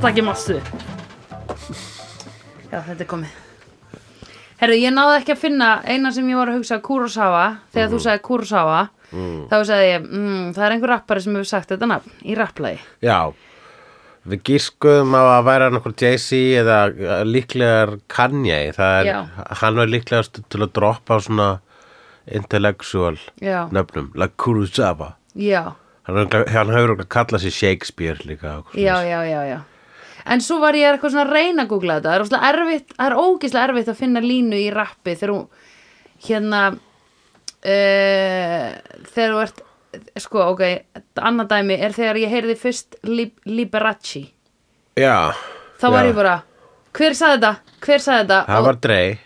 takkimasu Já, þetta er komið Herru, ég náði ekki að finna eina sem ég var að hugsa Kurosawa, þegar Mhm. þú sagði Kurosawa þá sagði ég, mm, það er einhver rappari sem hefur sagt þetta nafn í rapplagi Já, við gískuðum á að væra nokkur Jay-Z eða eh, líklegar Kanye, það er, Já. hann var líklegast til að droppa svona intellectual Já. nöfnum, like Kurosawa. Já, Hann, örugglega- hann hefur okkur kallað sér Shakespeare líka. og eitthvað já, svoleiðis. já, já, já En svo var ég eitthvað svona að reyna að googla þetta Það er, óslega erfitt, það er ógislega erfitt að finna línu í rappi þegar hún hérna uh, þegar þú ert sko, ok, annað dæmi er þegar ég heyrði fyrst Lib Liberace Já. þá var já. ég bara hver sagði þetta, hver sagði þetta Það var Drey.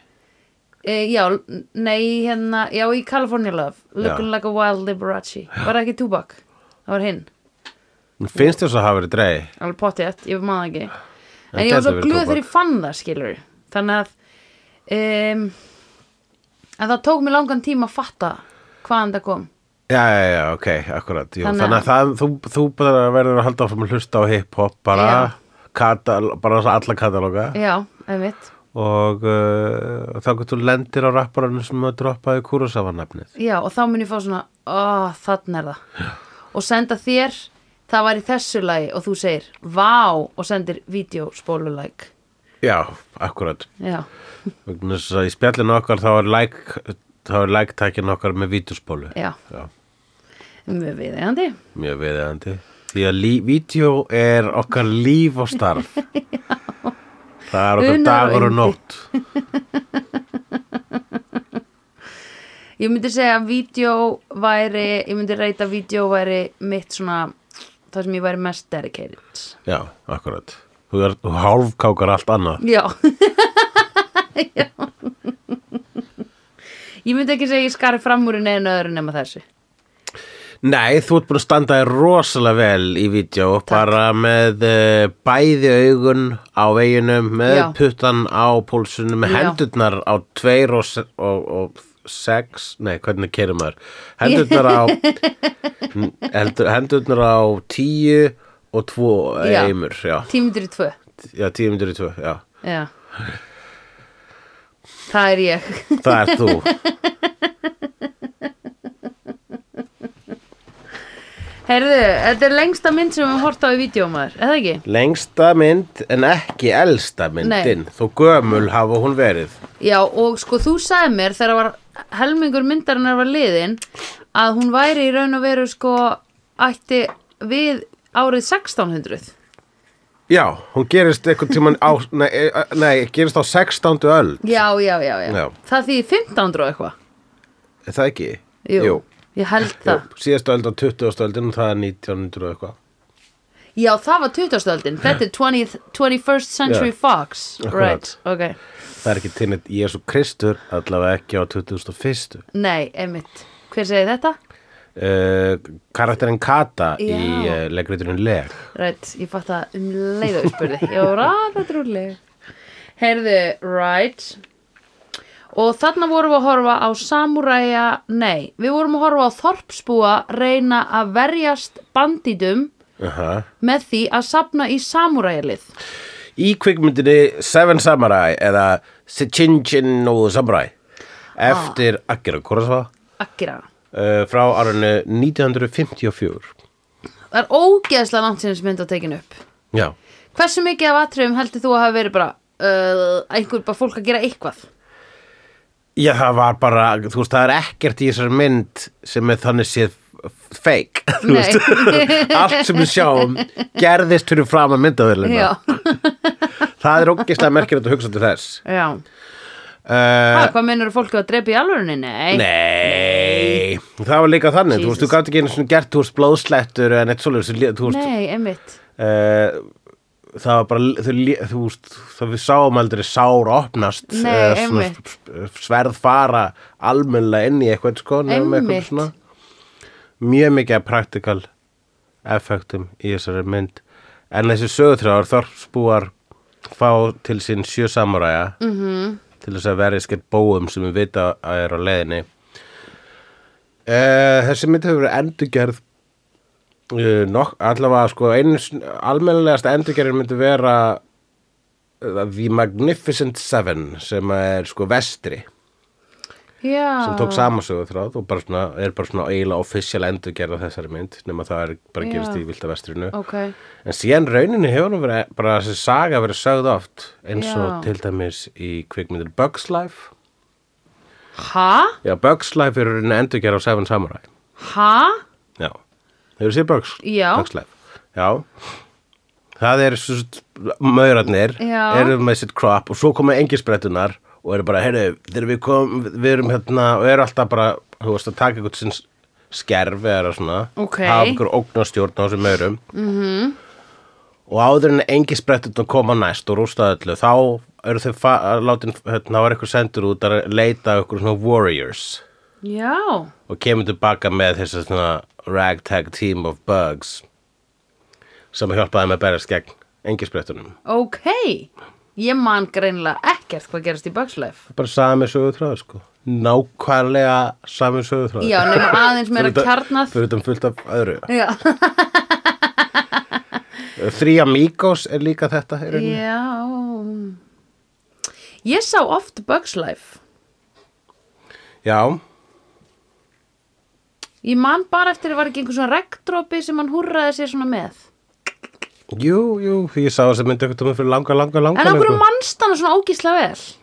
e, já, n- nei, hérna, já, í California Love Looking Já. like a wild Liberace var það ekki Tupac, það var hinn Finnst þess að hafa verið Drey? alveg pottið, ég maður ekki en Það ég var gæti svo verið glöð tóbak. þegar ég fann það skilur þannig að um, að það tók mér langan tíma að fatta hvaðan það kom Já, já, já, ok, akkurat. Jú, Þannig að- þannig, að það, þú, þú bara verður að halda áfram að hlusta á hip-hop bara, katal, bara alla katalóga. já, einmitt, og uh, þá getur þú lendir á rapparanum sem að droppaði Kurosawa nafnið já og þá mun ég fá svona ó, þann er það og senda þér, það var í þessu lagi og þú segir, vá og sendir vídeospólulæk Já, akkurat já, vegna þess að í spjallinu okkar þá er like, þá er like takin okkar með vídeospólu já, Já, mjög viðeigandi mjög viðeigandi því að lí- vídeo er okkar líf og starf það er okkar Unar og dagur og yndi. nótt Ég myndi segja að vídeo væri, ég myndi reyta að vídeo væri mitt svona, það sem ég væri mest dedicated. Já, akkurat þú, er, þú hálfkákar allt annað Já. Já. Ég myndi ekki segja að ég skari fram úr í neðinu öðru nema þessu. Nei, þú ert búin að standa þér rosalega vel í vídeo bara með uh, bæði augun á veginum með Já. puttan á pólsunum með Já. hendurnar á tveir og, se- og, og sex nei, hvernig kerum maður hendurnar á heldur, hendurnar á tíu og tvo Já. eimur já, Tímyndir í tvö. já tíu myndir í tvo já. Já. Það er ég. það er þú Herðu, þetta er lengsta mynd sem við höfum hort á í vídeomaður, eða ekki? lengsta mynd en ekki elsta myndin þó gömul hafa hún verið Já, og sko þú sagði mér þegar var helmingur myndarinnar var liðin að hún væri í raun og veru sko ætti við árið 1600 Já, hún gerist einhvern tíman á, nei, eh, nei, gerist á 16. öll, Já, já, já, já, Já. Það því 1500 og eitthvað er það ekki? Jú, Ég held Jú, það síðasta öld á 20. öldin og það er 1900 og eitthvað. Já, það var 20. öldin Þetta er 20th, 21st Century Já. Fox Right, Akkurat. ok Það er ekki tinnit Jésu Kristur, allavega ekki á 21. Nei, einmitt Hver segi þetta? Uh, karakterinn Kata Já. í uh, leikriturinn Leg. Right, ég fatt að um leiða uppbyrði Ég var "Ah, aða trúlega Heyrðu, right Og þarna vorum við að horfa á samuræja, nei, við vorum að horfa á þorpsbúa reyna að verjast bandítum Uh með því að sapna í samuræjalið. Í kvikmyndinni Seven Samurai eða Sichinjin no Samurai eftir ah. Akira Kurosawa Akira. uh, frá árunni 1954. Það er ógeðslega langt sinni sem mynd að tekin upp. Já. Hversu mikið af atriðum heldur þú að hafa verið bara uh, einhver bara fólk að gera eitthvað? Já, það var bara, þú veist, það er ekkert í þessari mynd sem er þannig séð f- fake, þú Nei. veist, allt sem við sjáum gerðist fyrir fram að myndaðurlega, Já, það er ógeðslega merkilegt að hugsa til þess. já. Uh, Ha, hvað meinur fólk að drepa í alvörunni? Nei. nei, það var líka þannig, þú veist, þú Jesus. gæti ekki einu svona gert, þú veist, blóðslettur en eitt svoleiðis, þú lé- þú veist, Nei, einmitt. uh, það var bara, þau, lé- þú veist, það við sáum aldrei sár opnast, Nei, eða einmitt. svona s- sverð fara almennlega inn í eitthvað, sko, nema eitthvað Einmitt. svona. mjög mikið af practical effektum í þessari mynd en þessi sögutráður þorpsbúar fá til sín sjö samuræja -hmm. til þess að verið skert bóum sem við vita að Eh, er á leiðinni uh, þessi mynd hefur verið endurgerð Uh, nokk, allavega sko einu almennilegasta endurgerðin myndi vera uh, The Magnificent Seven sem er sko vestri Já. sem tók samasögu þráð og bara svona, er bara svona eiginlega official endurgerð á þessari mynd nema það er bara Já. gerist í Vilda vestrinu Ok, en síðan rauninni hefur nú verið bara þessi saga verið sögð oft eins og Já. til dæmis í kvikmyndir Bugs Life ha? Já, Bugs Life er rauninni endurgerð á Seven Samurai Ha? Já, hefur séð Bugs, Já. Bugs Life Já Það er svo maurarnir Já. eru með sitt crop og svo koma engisbrettunar og eru bara, heyrðu, þegar við kom við erum hérna og eru alltaf bara þú veist að taka eitthvað sinn skerfi eða svona, Ok. Mhm. hafa ykkur ógnastjórn á þessum maurum mm -hmm. og áður en engisbrettunar koma næst og rústa öllu, þá eru þau fa- látin, hérna, þá er eitthvað sendur út að leita að ykkur svona warriors Já. og kemur tilbaka með þessi svona ragtag team of bugs sem hjálpaði með að berast gegn engisbrettunum. Ok. Ég man greinlega ekkert hvað gerast í Bugs Life. Bara sami sögur þráður sko. Nákvæmlega sami sögur þráður. Já, nema aðeins meira kjarnað. Fyrir utan fullt af öðru. Já. Þrý amigos er líka þetta. í rauninni. Já. Ég sá oft Bugs Life. Já, Ég man bara eftir að var ekki einhver svona regndrópi sem hann húrraði sér svona með. jú, jú, því ég sá þess að myndi eitthvað tómið fyrir langa, langa, langa. En af hverju löngu. mannst hann svona ógísla vel?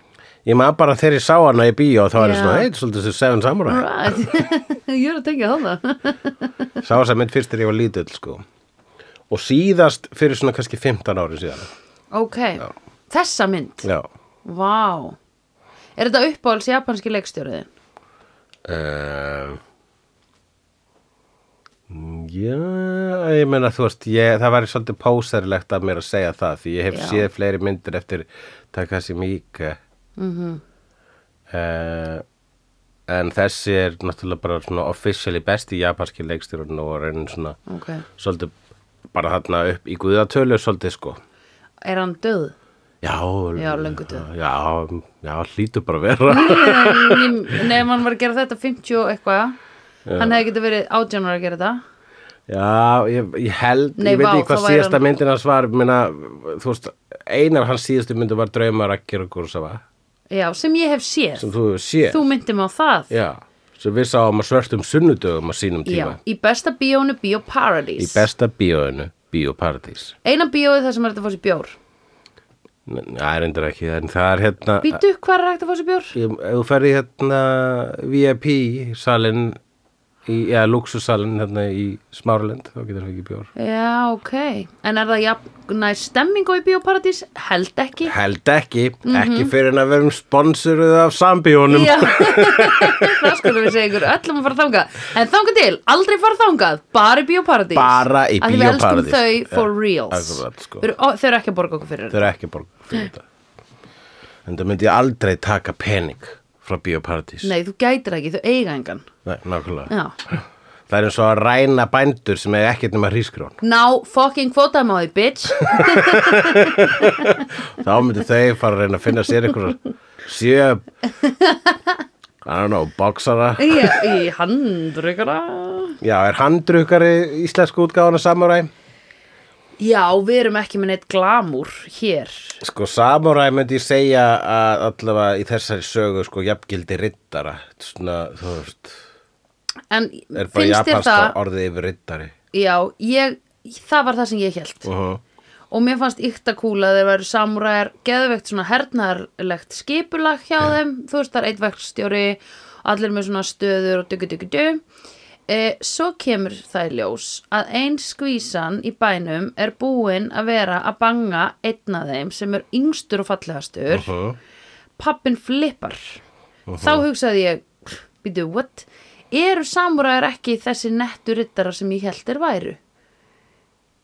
Ég maður bara þegar ég sá hana í bíó þá er ég Já. svona, heit, svolítið þessu Seven Samurai. Right. ég er að tengja það. Sá þess að mynd fyrst þegar ég var lítill sko. Og síðast fyrir svona kannski 15 ári síðan. ok. Þessa mynd. Já. Vá. Er þetta uppáhalds japanski leikstjóriðin? Uh, já, ég meina þú veist, ég, það væri svolítið pósarilegt af mér að segja það því ég hef Já. séð fleiri myndir eftir Takashi Miike Mhm. mm en þessi er náttúrulega bara svona officially besti japanski leikstjórn og reynir svona Ok. svolítið bara þarna upp í guðatölu svolítið sko Er hann döð? Já, Já, löngu dauður. Já, já, hlýtur bara að vera Nei, ef hann var að gera þetta 50 og eitthvað. Hann hefði getið verið 18 ára að gera þetta. Já, ég, ég held, Nei, ég veit vá, ekki hvað þá væri síðasta hann- myndin hans var, minna, þú veist, einar hans síðastu myndi var Draumar að gera kursava, Já, sem ég hef séð. sem þú hefur séð. Þú myndir mig á það. Já, sem við sáum að svörtum sunnudögum á sínum tíma. í besta bíónu Bíó Í Paradís. besta bíóinu, Bíóparadís. Eina bíóið þar sem er hægt að fá sér bjór. Það er endur ekki, en það er hérna, Býtu, hvað er hægt að fá sér bjór? ég, ef þú ferði hérna VIP-salin, eða luxusalin hérna í Smáralind, þá getur það ekki bjór. Já, ok. En er það jafn næst stemming og í Bíó Paradís? Held ekki. Held ekki, Mhm. ekki fyrir en að verum sponsoruð af sambíónum. Já, það skulum við segja ykkur öllum að fara þangað En þangað til, aldrei fara þangað, bara í bioparadís Bara í Af því við elskum Bíóparadís. þau for Já, reals akkurat, sko. Við erum- ó, Þau eru ekki að borga okkur fyrir Þau eru ekki að borga fyrir þetta. En það myndi ég aldrei taka pening frá Bíóparadís. þetta Nei, þú gætir ekki, þau eiga engan Nei, nákvæmlega. Já. Það er eins og að ræna bændur sem er ekkert nema hrískrón. Ná fucking kvótaðum á því, bitch Þá myndi þau fara að reyna að finna sér einhverjar sjö, I don't know, boksara. Ég, ég handrykara Já, er handrukari íslensku útgáðan af samuræ? Já, við erum ekki með neitt glamúr hér Sko, samuræ myndi ég segja að allavega í þessari sögu, sko, jafngildi rittara. Svona, þú veist, En er bara finnst þér japanska það orðið yfir rittari. Já, ég, það var það sem ég held Uh og mér fannst ykta kúla að þeir væri samúræðar geðveikt svona hernaðarlegt skipulag hjá þeim, þú veist það er eitt verkstjóri allir með svona stöður og duggu duggu duggu e, svo kemur það í ljós að ein skvísan í bænum er búin að vera að banga einn af þeim sem er yngstur og fallegastur pappin flippar þá hugsaði ég, býtu, what eru samúræðar ekki þessi nettu rittara sem ég held er væru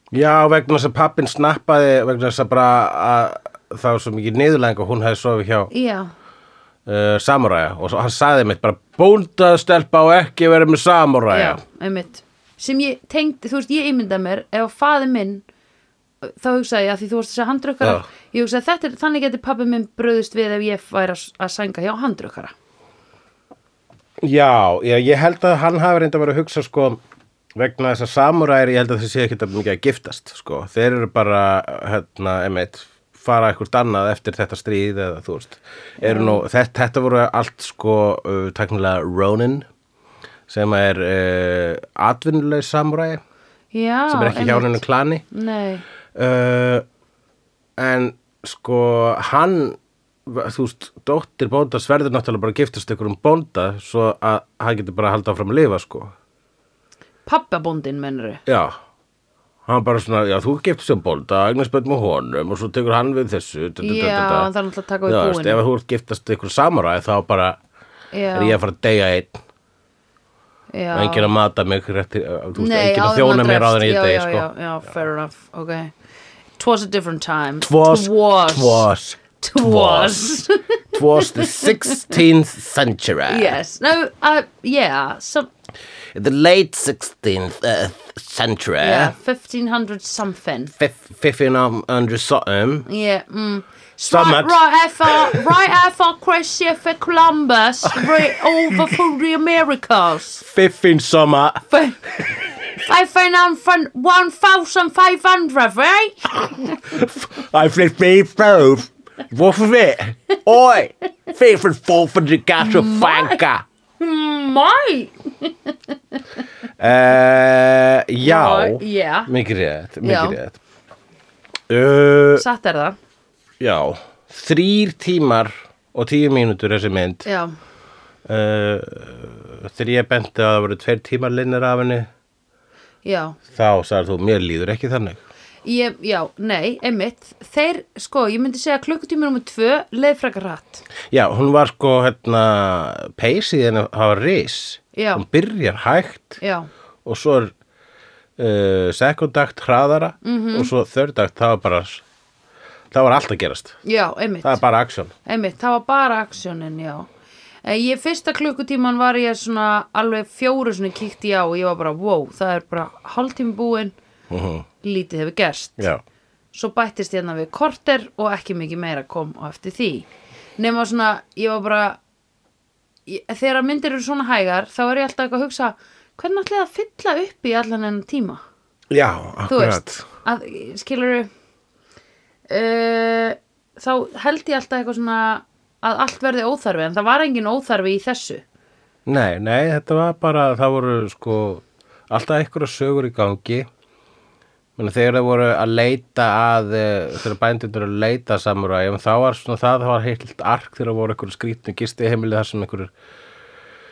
Já, vegna þess að pappin snappaði vegna þess að bara að það var svo mikið niðurlæðing og hún hefði sofið hjá já, uh, samuræja og svo, hann sagði mitt bara bóndað stelpa og ekki verið með samuræja já, einmitt sem ég tengdi, þú veist, ég ímynda mér ef að faði minn þá hugsaði ég að því þú varst þessi handrökkara Já. ég hugsaði að þetta er, þannig geti pappi minn bröðust við ef ég væri að, að sænga hjá handrökkara Já, já, ég held að hann hafi reynda verið að hugsa sko vegna þess að samuræri ég held að þau séu ekkert að mikið að giftast sko. þeir eru bara hérna, emeit, fara eitthvað annað eftir þetta stríð eða þú veist yeah. nú, þetta, þetta voru allt sko uh, teknilega Ronin sem er uh, atvinnuleg samuræi Já, sem er ekki hjá hennu klani Nei, uh, en sko hann þú veist, dóttir bóndas verður náttúrulega bara að giftast ykkur um bónda svo að hann getur bara að halda áfram að lifa sko pappabóndin mennur Já, hann bara svona, já þú getur sem bólda, eignast börn með honum og svo tekur hann við þessu. da, da, da, da, Já, da. hann þarf náttúrulega að taka við Já, veist, búinu. Ef þú ert giftast ykkur samuræði þá bara Já, er ég að fara að deyja einn já. og enginn að mata mig, rétti, þú veist, Nei, enginn áður að en þjóna hann mér drepst. áður en ég Já, deyja, já, sko. já, já, fair enough, ok Twas a different time Twas, Twas twas, Twas. twas the 16th century, Yes, no, uh, yeah, some, the late 16th uh, century, yeah, 1500 something fif- 1500 something, Yeah, mm. Stomach. Right, right after, right after Christopher Columbus right over for the Americas. 15 summer, Fi- 1,500, right? I flipped me both. What was it? Oi! Favorite fall for the gas of Fanka. Mike! Uh, já, Right, yeah. mikið rétt, Já. mikið rétt. Uh, Satt er það, já, þrýr tímar og tíu mínútur þessi mynd. já. Uh, þegar ég benti að það voru tveir tímar linnir af henni, Já, þá sagði þú, mér líður ekki þannig. ég, já, nei, einmitt Þeir, sko, ég myndi segja að klukkutími nummer tvö leið frekar rætt Já, hún var sko, hérna, peysið henni að hafa ris. Já. Hún byrjar hægt. Já, og svo er uh, second act hraðara Mhm. og svo third act það var bara það var allt að gerast já, einmitt það er bara aksjón Einmitt, það var bara aksjónin, já. Eh, Ég fyrsta klukkutíman var ég svona alveg fjóru svona kíkti á og ég var bara, wow, það er bara hálftími búin, lítið hefur gerst. já, Svo bættist hérna við korter og ekki mikið meira kom á eftir því. Nefna svona, ég var bara, ég, þegar myndir eru svona hægar, þá er ég alltaf eitthvað að hugsa, hvernig ætlaði að fylla upp í allan enn tíma? já þú akkurat veist, að, skilur uh, þá held ég alltaf eitthvað svona að allt verði óþarfi en það var engin óþarfi í þessu nei, nei, þetta var bara það voru sko alltaf einhverja sögur í gangi Meni, þegar það voru að leita að eh, þegar bændundur að leita samuræjum þá var svona það, það var heilt ark þegar voru einhverju skrýtnu gisti heimili þar sem einhverju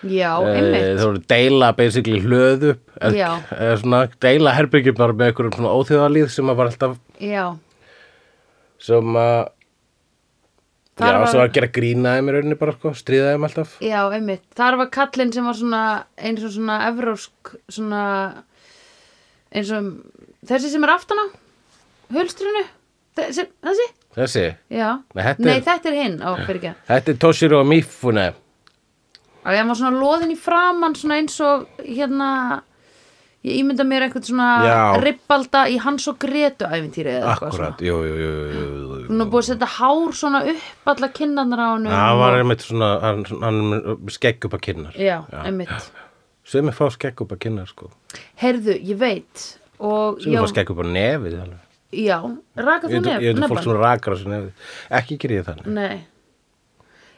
já, Eh, einmitt Það voru deila basically hlöðu Já. eða svona deila herbyggjumnar með einhverjum svona óþjóðalíð sem að var alltaf já, sem að Þar já, var- sem var að gera grína þeim í rauninni bara sko, stríða þeim alltaf já, einmitt þar var kallinn sem var svona eins og svona evrósk svona eins og þessi sem er aftana hulstrinu þessi, þessi? Þessi, já, Nei, þetta er- nei þetta er hinn, ó, fyrir ekki þetta er Toshiro Mifune að ég var svona loðin í framann svona eins og hérna ég ímynda mér eitthvað svona Já. ripbalda í hans og gretu æfintýri eða eitthvað Akkurat, jú, jú, jú, jú, jú, jú. svona hún er búið að setja hár svona upp alla kinnanar á hennu Það var einmitt svona, hann, hann skegg upp að kinnar já, einmitt Sumi fá skegg upp að kinnar sko heyrðu, ég veit og Sumi já, fá skegg upp að nefið alveg. já, raka Ég þú veit- nef, ég veit um fólk nefn sem rakar þessu nefið Ekki gerir ég þannig nei,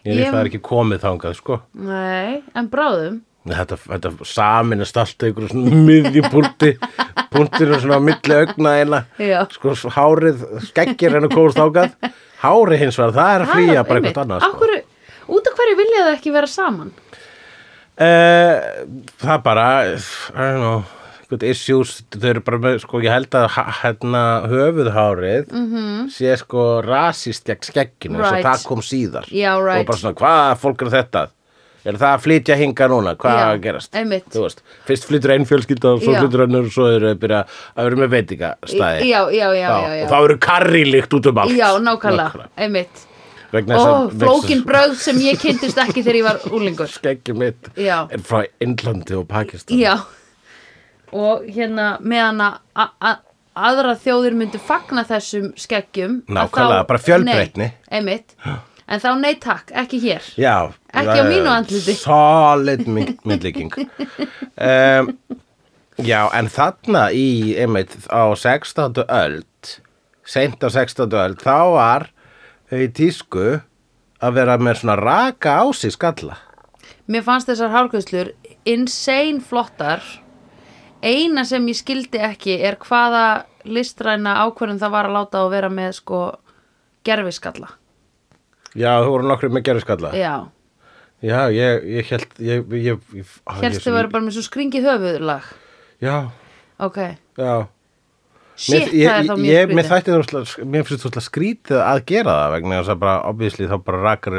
Ég veit Ég- það er ekki komið þangað sko nei, en bráðum Þetta, þetta saminast allt ykkur svona miðjupúlti púltinu svona á milli augna eina Já. sko svo hárið skeggir henni kóðst ágað hárið hins vegar, það er að flýja bara eitthvað annað sko. sko. út af hverju vilja það ekki vera saman eh, það er bara I don't know, eitthvað issues þau eru bara með, sko ég held að ha- hérna höfuðhárið -hmm. sé sko rasist gegn skegginu right. Mhm. Right. það kom síðar Já, og right. bara svona hvað fólk er þetta er það að flytja hinga núna, hvað Já, að gerast einmitt. þú veist, fyrst flyttur einn fjölskylda og svo Já. flyttur önnur og svo eru að byrja að vera með veitingastæði já, já, já, já, já. og þá eru karrílikt út um allt já, nákvæmlega, einmitt vegna þess Ó, að flókin bröð sem ég kynntist ekki þegar ég var úlingur. skeggi mitt Já. er frá Indlandi og Pakistan Já. Og hérna meðan að a- a- aðra þjóðir myndu fagna þessum skeggjum. að Nákvæmlega, þá- bara fjölbreytni. Nei, einmitt. En þá nei takk, ekki hér. Já, Ekki á það er mínu andliti. Solid myndlíking um, Já, en þarna í, einmitt, á 16. öld, seint á 16. öld, þá var þau í tísku að vera með svona raka á sig skalla. Mér fannst þessar hárgreiðslur insane flottar. Eina sem ég skildi ekki er hvaða listræna ákvörðum það var að láta að vera með sko gerfiskalla. Já, þú voru nokkru með gerðu skalla. Já, Já, ég, ég held, ég, ég, ég, á, ég hérstu verið bara með svo skringi höfuðlag. Já, Ok, já. shit, ég, það er þá ég- mjög ég- Mér skrítið. þætti þú slá, mér finnst þú slá skrítið að gera það vegna þess að bara, obviously, þá bara rakar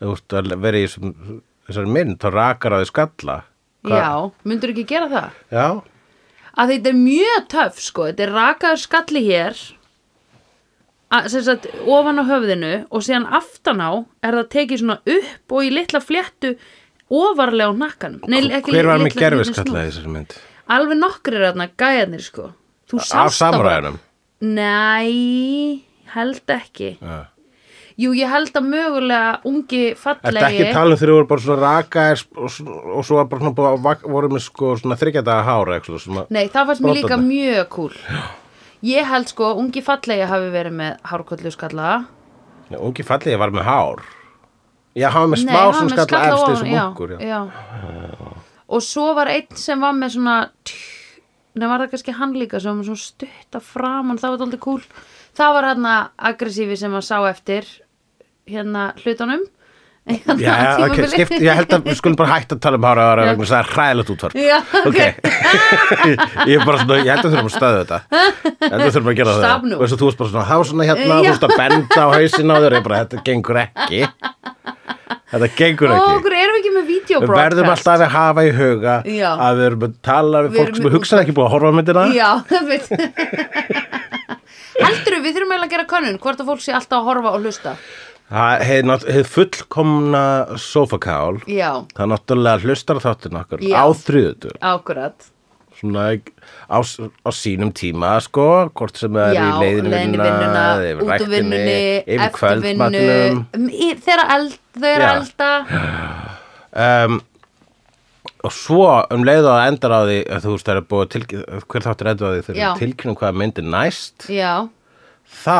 þú veist, að vera í þessum- þessari mynd, þá rakar að þau skalla. Hvað- Já, myndur ekki gera það? Já, Að þetta er mjög töff sko, þetta er rakaður skalli hér, að, sem sagt ofan á höfðinu og síðan aftan á er það tekið svona upp og í litla fléttu ofarlega á nakkanum. Nei, ekki Hver var litla- með litla- gerfiskalla í þessari mynd? Alveg nokkrir hérna, gæðarnir sko. Þú sást Af það bara. samræðunum? Nei, held ekki. Já. Jú, ég held að mögulega ungi Þetta ekki fallegi. tala um þegar þau voru bara svona raka og, svona- og svo var bara svona búið að vak- voru með sko svona þryggjadaga hára eitthvað svona. Nei, það fannst mér líka Brotandi. mjög cool. Ég held sko, ungi fallegi hafi verið með hárköllu skalla. Já, Ungi fallegi var með hár. Já, hann var með Nei, smá hann svona með skalla efst ofan, eins og munkur. Já. Já, já. Og svo var einn sem var með svona, nei, var það kannski hann líka sem var með svona stutta framann, það var daldið cool. Það var hérna aggressífi sem að sá eftir hérna hlutunum. Hérna, Já, já, ok, tímabili. skipt, ég held að við skulum bara hætta að tala um hára ára vegna þess að það er hræðilegt útvarp Já, ok. ég er bara svona, ég held að þurfum að staða þetta Ég held að þurfum að gera Staf það nú. og þess að þú veist bara svona, það var svona hérna Já. þú veist að benda á hausin á þér ég bara, þetta gengur ekki þetta gengur Ó, ekki okkur erum við ekki með Við videobroadcast. verðum alltaf að hafa í huga Já. að við erum að tala við Við fólk erum sem með hugsaði ekki búið að horfa á myndina Já, það veit. Heldur við þurfum eiginlega að gera könnun hvort að fólk sé alltaf að horfa og hlusta. Það hefði hef fullkomna sofakál Já, Það er náttúrulega hlustar þáttin okkur Já. á þriðutur ákvörðat. svona á, á sínum tíma sko, hvort sem það er Já, í leiðinu leiðinu vinnuna, vinnuna, út yfir úr ræktinni, vinnunni, yfir eftir vinnu, kvöldmatnum um, í- þegar eld, þegar Já. elda, um, og svo um leið og það endar á því að þú veist það er búið að tilkynna hver þáttur endur á því þegar Já. við tilkynum hvaða myndi næst já, þá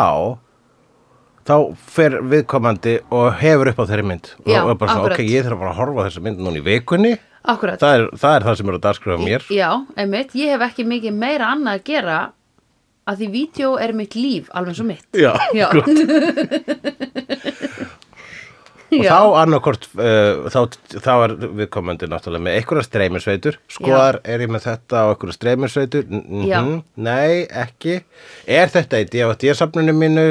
þá fer viðkomandi og hefur upp á þeirri mynd Já, og er bara svona, akkurat. ok, ég þarf bara að horfa á þessa mynd núna í vikunni akkurat. það er það, er það sem er að dagskrifa mér Já, einmitt, ég hef ekki mikið meira annað að gera að því vídeo er mitt líf, alveg svo mitt. Já, Já. gott. og Já. þá annarkort uh, þá, þá er viðkomandi náttúrulega með einhverja streymisveitur skoðar er ég með þetta og einhverja streymisveitur mm Já. nei, ekki er þetta í DFD-safnunum mínu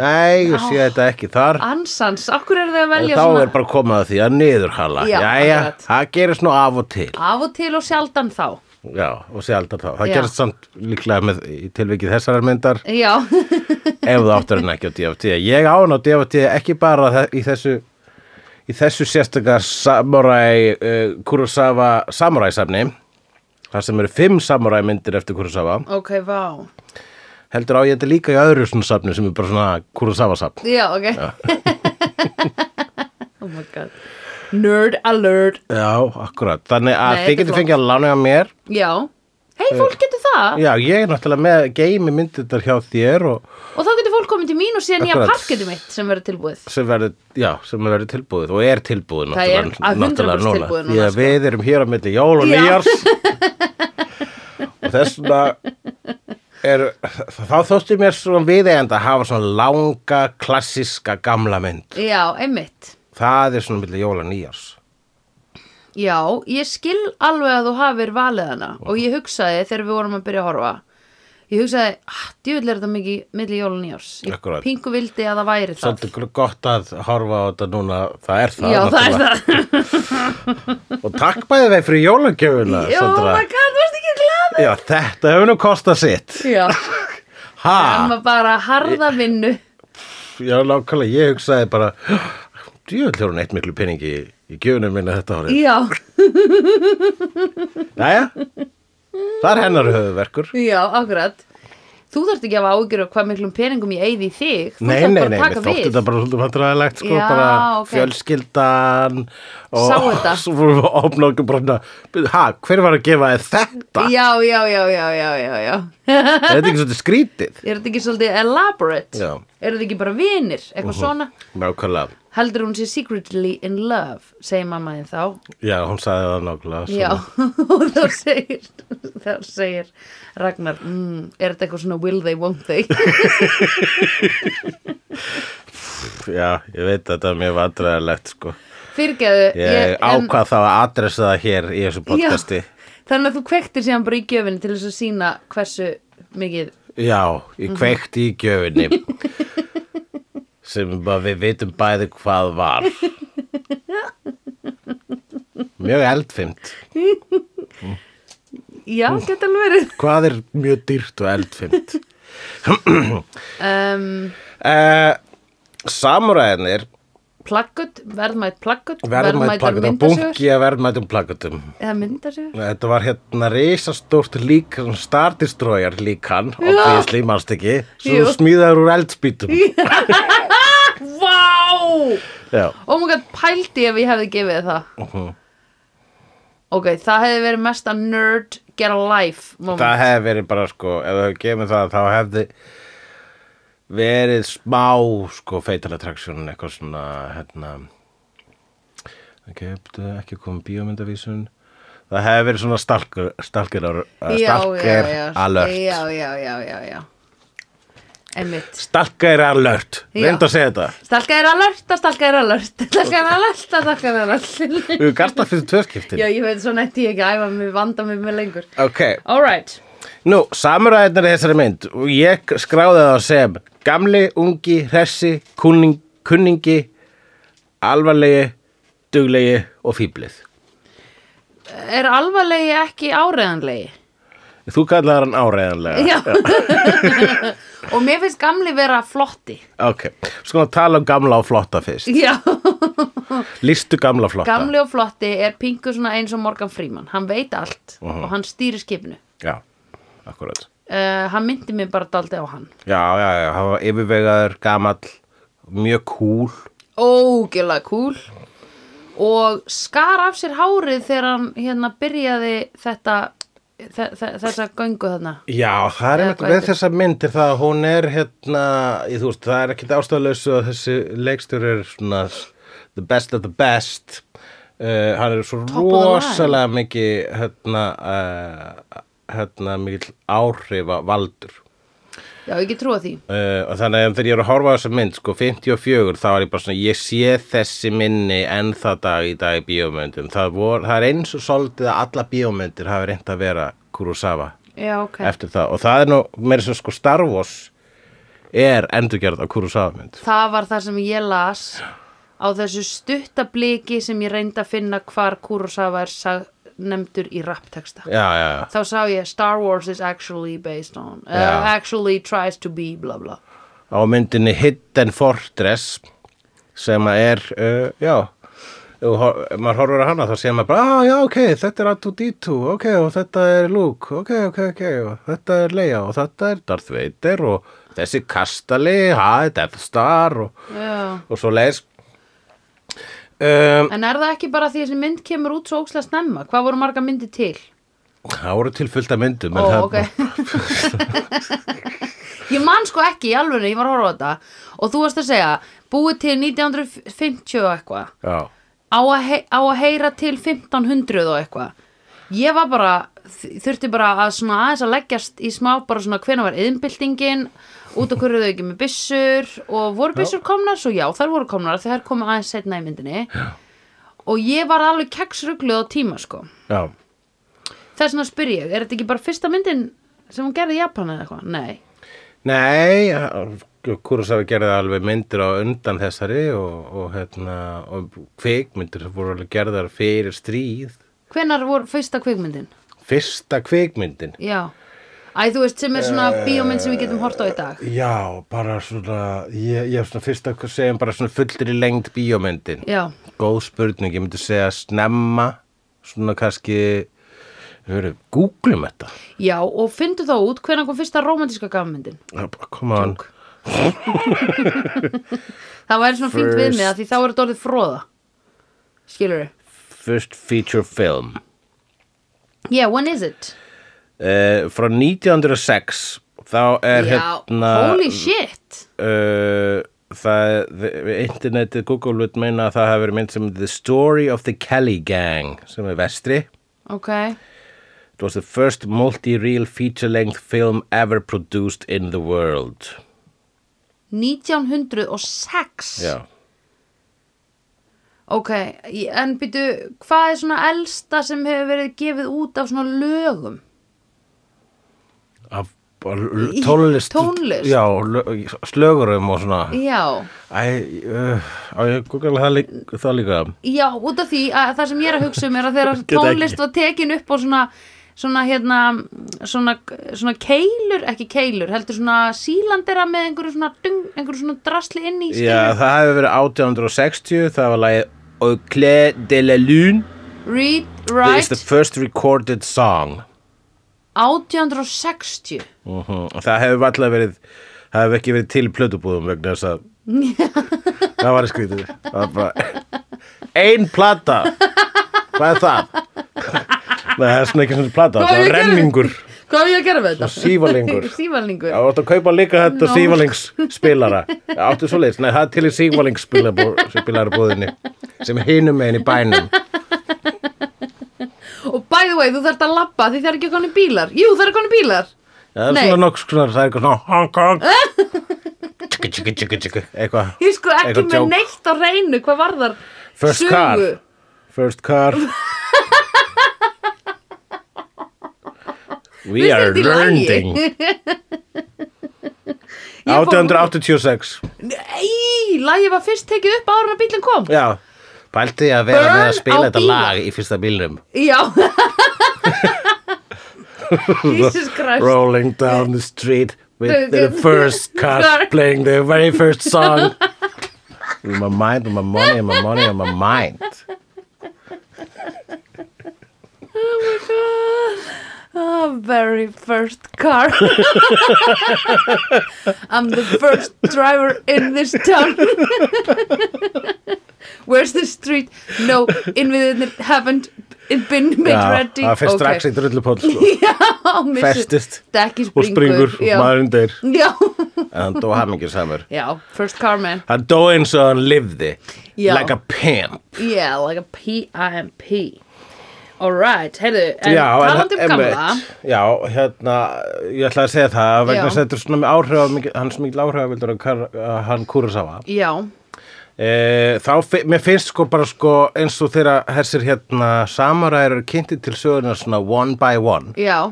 nei, ég sé þetta ekki þar Ansans, okkur er þau að En velja þá svona er bara komað að því að niðurhala Já, Jæja, akkurat. það gerist nú af og til af og til og sjaldan þá. Já, og sé alltaf þá, það Já. gerist samt líklega með, í tilvikið þessarar myndar Já, ef það áttur en ekki á DFT ég án á DFT ekki bara þe- í þessu í þessu sérstaka samurai uh, Kurosawa samurai safni þar sem eru fimm samurai myndir eftir Kurosawa ok, vá. heldur á ég þetta líka í öðru svona safni sem er bara svona Kurosawa safn Já, ok. oh my god. Nerd alert. Já, akkurat, þannig að Nei, þið þetta er getur flott. fengið að lána á mér Já. Hei, fólk getur það. Já, ég er náttúrulega með geimi myndirnar hjá þér og Og þá getur fólk komið til mín og séð nýja Akkurat. parketu mitt sem verður tilbúið. sem verður, já, sem verður tilbúið og er tilbúið Það er náttúrulega, að 100% náttúrulega núna. tilbúið núna, Því að sko. við erum hér á milli jól og Já. nýjars og þess vegna er, þá þótti mér svona viðeigandi að hafa svona langa, klassiska, gamla mynd. Já, einmitt. Það er svona milli jól og nýjars. Já, ég skil alveg að þú hafir valið hana og ég hugsaði þegar við vorum að byrja að horfa. Ég hugsaði, ah, djúvill er þetta mikið milli jólun í árs. Ég Akkurat. pingu vildi að það væri það. Svolítið gott að horfa á þetta núna, það er Já, það. það er náttúrulega. það. Og takk bæði þeir fyrir jólagjöfuna, Jó, oh Sandra. my god, þú varst ekki glada. Já, þetta hefur nú kostað sitt. Já, Ha? það var bara harða vinnu. Já, nákvæmlega, ég hugsaði bara djúvel hefur hún eitt miklu peningi í, í gjöfunum minna þetta árið. Já, Jæja, það er hennar höfuverkur. já, akkurat. þú þarft ekki að hafa ágjur af hvað miklum peningum ég eyði í þig þú Nei, þarft nei, bara nei, að mér taka þótti við þetta bara svolítið vandræðilegt sko, Já, bara ok. fjölskyldan og Sá þetta. svo vorum við að opna okkur bara svona, ha, hver var að gefa þér þetta? já, já, já, já, já, já, já Er þetta ekki svolítið skrítið? er þetta ekki svolítið elaborate Já. Mhm. eru þetta ekki bara vinir, eitthvað svona Nákvæmlega, heldur hún sé secretly in love segir mamma þín þá já, hún sagði það nákvæmlega svona. Já, og þá segir, þá segir Ragnar, mm, er þetta eitthvað svona will they, won't they? Já, ég veit að þetta er mjög vandræðilegt sko. Fyrirgeðu, Ég ákvað þá að adressa það hér í þessu podcasti. þannig að þú kvektir síðan bara í gjöfinni til þess að sína hversu mikið, Já, Mhm. ég kveikti í gjöfinni sem bara við vitum bæði hvað var. Mjög eldfimt. já, geta alveg verið. Hvað er mjög dýrt og eldfimt? Um, Uh, Samuræðinir plaggut, verðmætt plaggut, verðmætt plakatum, myndasögur, bungi að verðmættum plakatum. eða myndasögur. Þetta var hérna reisastórt lík, svona Star Destroyer líkan og Já. því slímanst ekki, Jú. svo smíðaður úr eldspýtum. Vá! Já, mhm. Oh my god, pældi ef ég hefði gefið það. Ok, það hefði verið mesta nerd get a life moment. það hefði verið bara sko, ef það hefði gefið mér það, þá hefði verið smá sko Fatal Attraction, eitthvað svona, hérna, ok, ekki komið bíómyndavísun, það hefði verið svona stalker, stalker, uh, stalker alert. Já, já, já, já, já. Einmitt. Stalker alert, Já. reyndu að segja þetta. Stalka er alert, að stalka er alert, stalka er alert, að stalka er alert. Við gasta fyrir tvörskiptin. já, ég veit svo netti ég ekki að æfa mig, vanda mig með lengur. Ok, All right. Nú, samuræðirnar í þessari mynd og ég skráði það sem gamli, ungi, hressi, kunning, kunningi, alvarlegi, duglegi og fýblið. Er alvarlegi ekki áreðanlegi? Þú kallar hann áreiðanlega. Já. Og mér finnst gamli vera flotti. Ok, sko að tala um gamla og flotta fyrst. Já. Listu gamla og flotta. Gamli og flotti er pingu svona eins og Morgan Freeman. Hann veit allt og hann stýrir skipinu. Já, akkurat. Uh, hann myndi mig bara daldi á hann. Já, já, já, hann var yfirvegaður, gamall, mjög kúl. ógeðlega cool og skar af sér hárið þegar hann hérna byrjaði þetta þe þe þessa göngu þarna Já, það er Eða einmitt hvað með heitir? þessa mynd er það að hún er hérna, ég, þú veist, það er ekkit ástæðalösu að þessi leikstur er svona the best of the best uh, hann er svo of the line. rosalega mikið hérna, uh, hérna mikið áhrifa valdur já ekki trúa því uh, og þannig að þegar ég er að horfa á þessa mynd sko 54 þá er ég bara svona ég sé þessi minni enn það dag í dag í bíómyndum, það, vor, það er eins og soldið að alla bíómyndir hafi reynd að vera Kurosawa já ok eftir það og það er nú meira sem sko Star Wars er endurgerð á Kurosawa mynd það var það sem ég las á þessu stutta bliki sem ég reyndi að finna hvar Kurosawa er sag, nefndur í rappteksta já, já, já, þá sá ég Star Wars is actually based on uh, Já. actually tries to be bla bla á myndinni Hidden Fortress sem að er, uh, já ef þú hor- ef maður horfur að hana þá sé maður bara, ah, já, ok, þetta er R2-D2 ok, og þetta er Luke, ok, ok, ok og þetta er Leia og þetta er Darth Vader og þessi kastali ha, Death Star og, já. og svo leis um, en er það ekki bara því þessi mynd kemur út svo ókslega snemma hvað voru marga myndi til það voru til fullt af myndum en Ó, það- ok Ég man sko ekki í alveg ég var að horfa á þetta og þú varst að segja búið til 1950 og eitthvað já á, að hei- á að heyra til 1500 og eitthvað ég var bara þurfti bara að svona aðeins að leggjast í smá bara svona hvena var yðnbyltingin út af hverju þau ekki með byssur og voru byssur komnar svo já þær voru komnar þegar komu aðeins setna í myndinni já. og ég var alveg keksrugluð á tíma sko Já, Þess vegna spyr ég, er þetta ekki bara fyrsta myndin sem hún gerði í Japan eða eitthvað? Nei. nei, Kurosawa gerði alveg myndir á undan þessari og, og, hérna, og kvikmyndir voru alveg gerðar fyrir stríð. Hvenær voru fyrsta kvikmyndin? Fyrsta kvikmyndin. Já. Æ, þú veist, sem er svona bíómynd sem við getum hort á í dag. Já, bara svona, ég, ég er svona fyrst að segja bara svona fullri lengd bíómyndin. Já, Góð spurning, ég myndi segja snemma, svona kannski Hörru, googlum þetta Já, og fyndu þá út hvenær kom fyrsta romantíska gafmyndin. Come on Jók. það væri svona fínt við mig að því þá er þetta orðið fróða. Skilur þau? First feature film Yeah, when is it? uh, Frá 1906 Þá er Já, hérna holy shit! uh, Það the- Internetið Google vill meina að það hafi verið mynd sem The Story of the Kelly Gang sem er vestri Ok, It was the first multi-reel feature-length film ever produced in the world. 1906. Já. Ok, en býtu, hvað er svona elsta sem hefur verið gefið út af svona lögum? Af bara l- tónlist. tónlist. Já, lö- slögurum og svona. Já, Æ, uh, á ég googla það, lík, það líka. já, út af því að það sem ég er að hugsa um er að þegar Geta tónlist ekki. var tekin upp á svona, svona hérna, svona, svona keilur, ekki keilur, heldur svona sílandera með einhverju svona, dung, einhverju svona drasli inn í Já, skilur. það hefur verið 1860, það var lagið Au clair de la lune Read, is the write, first recorded song. 1860. Uh Það hefur alltaf verið, það hefur ekki verið til í plötubúðum vegna þess að það var skrítið. Það var bara, ein plata, hvað er það? Nei, það er svona ekki svona plata, Hvað á það ég var að gera? renningur, Hvað er ég að gera með þetta? sívalingur. Sívalingur. Það varst að kaupa líka þetta Nó. sívalingsspilara. Áttu svo leiðis, nei, það er til í sívalingsspilara búðinni sem er hinum megin í bænum. Og by the way, þú þarft að labba því það er ekki konni bílar. Jú, það er konni bílar. Já, það er Nei. svona nokks konar, það er eitthvað svona honk honk tjikki tjikki tjikki tjikki eitthvað Ég er sko ekki Eitthvað með joke. neitt á reynu, hvað var þar? First sögu. car First car We Finnst are þér þetta í lagi? learning Ég fór- um 1886 Nei, lagið var fyrst tekið upp áður en að bílinn kom. Já Pælti ég að vera Burn með að á spila þetta bíla. lag í fyrsta bílnum Já. Jesus Christ. Rolling down the street with the first car Car. playing the very first song In my mind, in my money, in my money, in my mind Oh, very first car. I'm the first driver in this town. Where's the street? No, innviðinir haven't been made ready. það fyrst Ok. strax í drullupóll sko. Já, missir. festist Dekki og springur og Já, maðurinn deyr já. en hann dó hamingjur samur já first car man. hann dó eins og hann lifði Já. like a pimp Yeah, like a P-I-M-P. Alright, heyrðu, en Já, en talandi um það- gamla... einmitt. já, hérna, ég ætla að segja það Já. vegna þess að þetta er svona með áhrif hans mikil áhrif vildur að hann Kurosawa Já, e, þá, fi- mér finnst sko bara sko eins og þegar þessir hérna samaræður eru kynnti til söguna svona one by one já,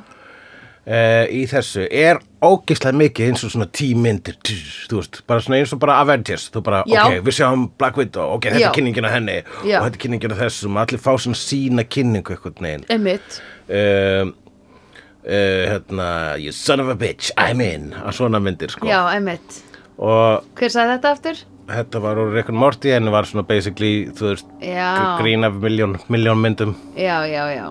uh, í þessu er ógislega mikið eins og svona tímyndir þú veist, bara svona eins og bara Avengers þú bara, Já. ok, við sjáum Black Widow ok, þetta Já. er kynningin á henni Já. og þetta er kynningin á þessum, allir fá svona sína kynningu eitthvað neginn einmitt. um, uh, hérna, you son of a bitch, I'm in að svona myndir sko Já, einmitt. og Hver sagði þetta aftur? þetta var úr Rick and Morty en var svona basically, þú veist Já. grín af miljón, miljón myndum Já, já, já.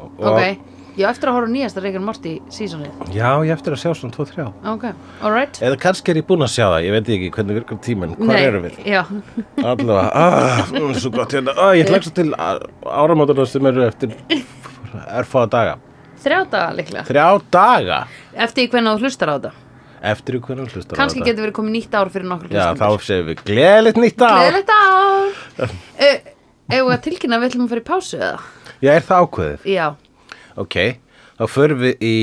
og, Ok. Já, eftir að horfa á nýjasta Rick and Morty sísonið. já, ég á eftir að sjá svona 2-3 Ok, alright. eða kannski er ég búinn að sjá það, ég veit ekki hvernig virkar tíminn, Eh, hvar Nei, erum við Já, Allavega, ah, mm, svo gott hérna ah, Ég hlækst til áramótana sem eru eftir erfáða daga þrjá daga líklega. Þrjá daga Eftir í hvernig þú hlustar á þetta. eftir ykkur hvernig hlustar á Kanski þetta. getur verið komið nýtt ár fyrir nokkur Já, þá segir við gleðilegt nýtt ár Gleðilegt ár! Eh, Eigum við að tilkynna að við ætlum að fara í pásu eða? Já, er það ákveðið Já. Ok, þá förum við í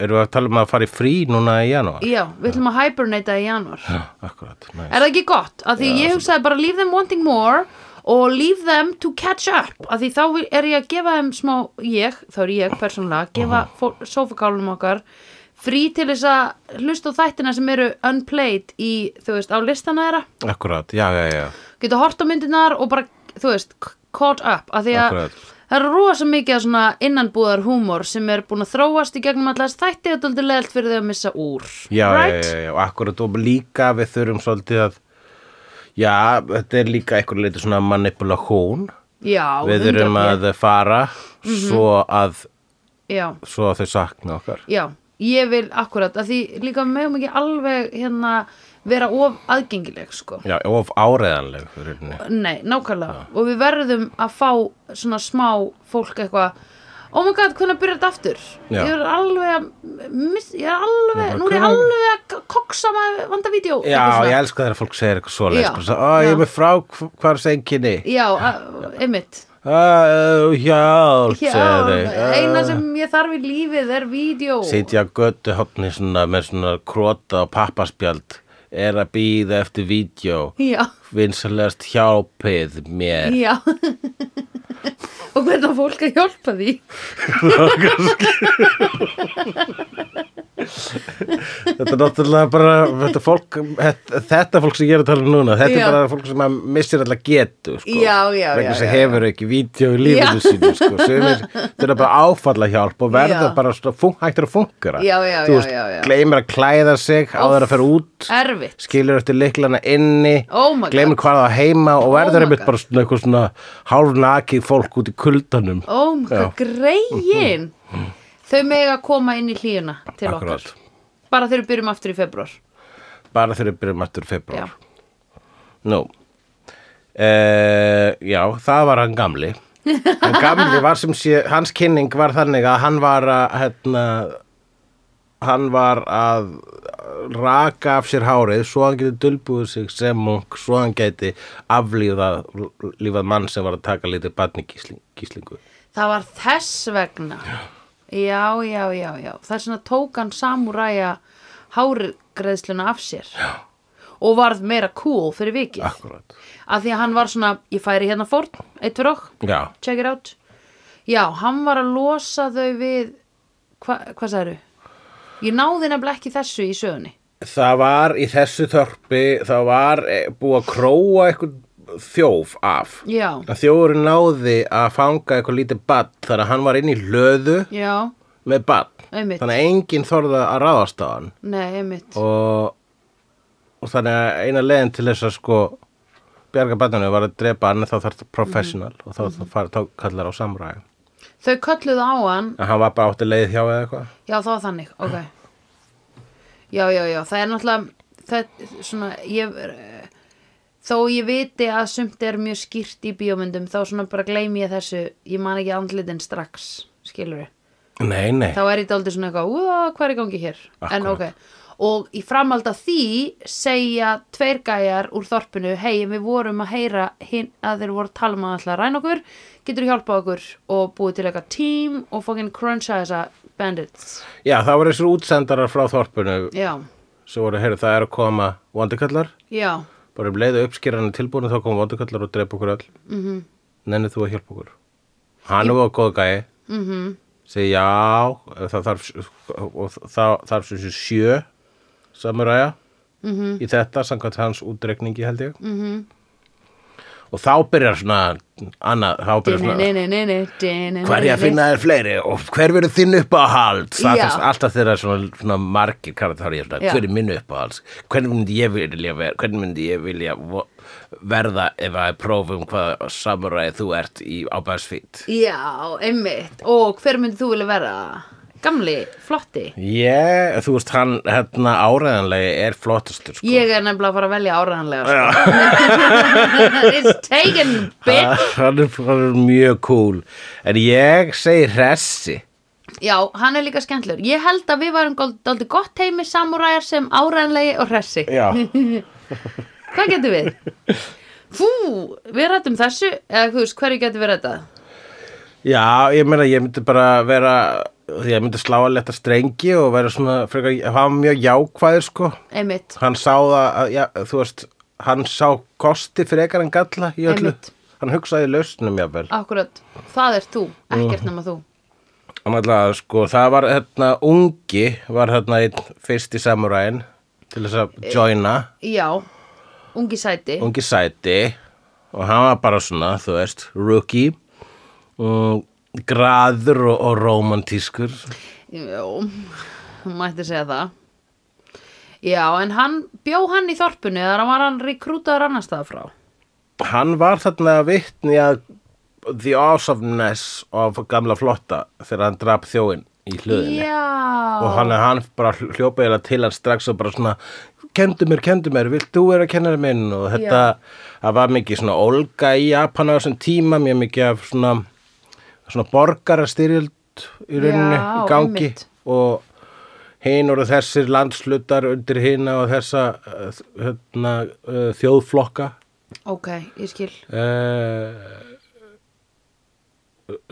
Erum við að tala um að fara í frí núna í janúar? Já, við ætlum að hibernata í janúar. Já, akkurat, næs Er það ekki gott? Af því ég hugsaði bara leave them wanting more og leave them to catch up af því þá er ég að gefa þeim smá ég, þá er ég persónulega að gefa sofakálunum okkar frí til þess að hlusta á þættina sem eru unplayed í, þú veist, á listana þeirra Akkurat, já, já, já geta hort á myndirnar og bara, þú veist, c- caught up af því að Akkurat. það er rosa mikið af svona innanbúðar húmor sem er búin að þróast í gegnum allast þætti og daldið leðalt fyrir þau að missa úr já, right? já, já, já, og akkurat og líka við þurfum svolítið að já, þetta er líka eitthvað leiti svona manipulation já, við þurfum 100%. að fara Mhm. svo, að, já, svo að þau sakna okkar já ég vil akkurat, að því líka við megum ekki alveg hérna vera of aðgengileg sko Já, of áreðanleg í rauninni. Nei, nákvæmlega og við verðum að fá svona smá fólk eitthvað Oh my god, hvernig byrjar þetta aftur? Já. Ég er alveg að, miss, ég er alveg, Já, bara, nú er ég hvenær- alveg að koksa með vandavídeó. Já, ég elska þegar fólk segir eitthvað svoleið Já, sko, svo, Ó, ég já. er með frá hvar senginni Já, að- einmitt. Ó, Hjálp, Já, segir þau "Ah." eina sem ég þarf í lífið er vídeo. Sitja götu hopni svona með svona krota og pappaspjald er að býða eftir vídeo Já, vinsalegast hjálpið mér já. og hvernig á fólk að hjálpa því? Þetta er náttúrulega bara þetta fólk, þetta, þetta fólk sem ég er að tala um núna þetta Já. er bara fólk sem að missir alltaf getu sko, Já, já, já, vegna sem já, hefur ekki vídeo í lífinu Já. sínu sko, sem er, er bara áfalla hjálp og verða Já. bara svona fun- hættir að fungera Já, já, Þú já, veist, já, já. gleymir að klæða sig áður að fara út Erfitt. skilur eftir liklana inni Oh my God. Oh gleymir hvað það á heima og verður my einmitt God. bara svona eitthvað svona hálfnakið fólk út í kuldanum Ó, oh, Já. greiðin. Þau mega koma inn í hlíuna til Akkúrat. okkar. Bara þegar við byrjum aftur í februar. bara þegar við byrjum aftur í Já. februar nú Uh, já, það var hann gamli hann gamli var sem sé hans kynning var þannig að hann var að hérna, hann var að raka af sér hárið svo hann geti dulbúið sig sem munk svo hann geti aflífað lífað mann sem var að taka litið barni gíslingu Það var þess vegna. Já, já, já, já. Það er svona tók hann samúræja hárgreðsluna af sér. Já. Og varð meira cool fyrir vikið. Akkurat Af því að hann var svona, ég færi hérna fórn, eitt fyrir okk, Já, check it out. Já, hann var að losa þau við, hva, hvað sagðu? Ég náði nefnilega ekki þessu í sögunni. það var í þessu þörpi, það var eh, búið að króa eitthvað þjóf af. Já, Að þjófurinn náði að fanga eitthvað lítið badn þar að hann var inn í hlöðu já, með badn. einmitt. Þannig að enginn þorða að ráðast á hann Nei, einmitt. og, og þannig að eina leiðin til þess að sko bjarga badninu var að drepa hann en þá þarf það professional Mhm. og þá mm -hmm. þá kallar á samræði. Þau kölluðu á hann, En hann var bara átti leið hjá eða eitthvað. já þá var þannig, ok. Já, já, já, það er náttúrulega, það, svona, ég, eh, þó ég viti að sumt er mjög skýrt í bíómyndum, þá svona bara gleymi ég þessu, ég man ekki andlitin strax, skilur við. Nei, nei. Þá er ég dálítið svona eitthvað, úða, hvað er í gangi hér? En ok, Akkúrat. og í framhald af því segja tveir gæjar úr þorpinu, hei, við vorum að heyra hin, að þeir voru að tala um að alltaf ræna okkur, getur hjálpað okkur og búið til eitthvað team og fókin cruncha þessa bandits. Já, það voru þessir útsendarar frá þorpinu Já, svo voru, heyrðu, það er að koma vondikallar, já, bara um leiðu uppskýran er tilbúin þá koma vondikallar og drepa okkur öll mm -hmm. nennið þú að hjálpa okkur hann var góð gæi mm -hmm. segi já það þarf, og það þarf sem sé sjö samuræja mm -hmm. í þetta, samkvæmt hans útreikningi held ég mm -hmm. og þá byrjar svona annað, þá byrjar svona dini-nini-nini-nini. Hvar ég að finna þér fleiri og hver verður þinn uppáhald það Já. fyrst alltaf þeirra svona, svona margir karakter ég, svona, Já. hver er minn uppáhald hvernig myndi ég vilja, ver, hvernig myndi ég vilja vo- verða ef að prófum hvað samuræði þú ert í, á BuzzFeed Já, einmitt, og hver myndi þú vilja vera? Gamli, flotti. ég, þú veist hann hérna áræðanlega er flottastur sko. Ég er nefnilega að fara að velja áraðanlega sko. It's taken, bitch hann, er, hann er mjög cool en ég segi hressi Já, hann er líka skemmtlur Ég held að við varum daldi gott heimi samúræjar sem áraðanlegi og hressi já, Hvað getum við? Fú, við rættum þessu eða þú veist, hverju getum við rættað? Já, ég meina, ég myndi bara vera, ég myndi slá að leta strengi og vera svona, frekar, hann var mjög jákvæður, sko. Einmitt, Hann sá það, að, já, þú veist, hann sá kosti frekar en galla í öllu. Einmitt. Hann hugsaði í lausnum, jáfnvel. akkurat Það er þú, ekkert nema þú Hann alltaf, sko, það var hérna ungi, var hérna einn fyrsti samuræn til þess að joina, Já, ungi sæti ungi sæti og hann var bara svona, þú veist, rookie, um, graður og, og romantískur. Já, mætti segja það Já, en hann bjó hann í þorpinu eða var hann rekrútaður annars staðar frá hann var þarna vittni að the awesomeness of gamla flotta þegar hann drap þjóin í hlöðinni Já. og hann, hann bara hljópa eða til hann strax og bara svona kendu mér, kendu mér, vilt þú vera kennari minn og þetta, það var mikið svona olga í Japan á þessum tíma mjög mikið af svona, svona borgarastyrjöld í rauninni Já, í gangi einmitt. og hinn voru þessir landslutar undir hinna og þessa eh, hérna, eh, þjóðflokka Ok, ég skil. uh,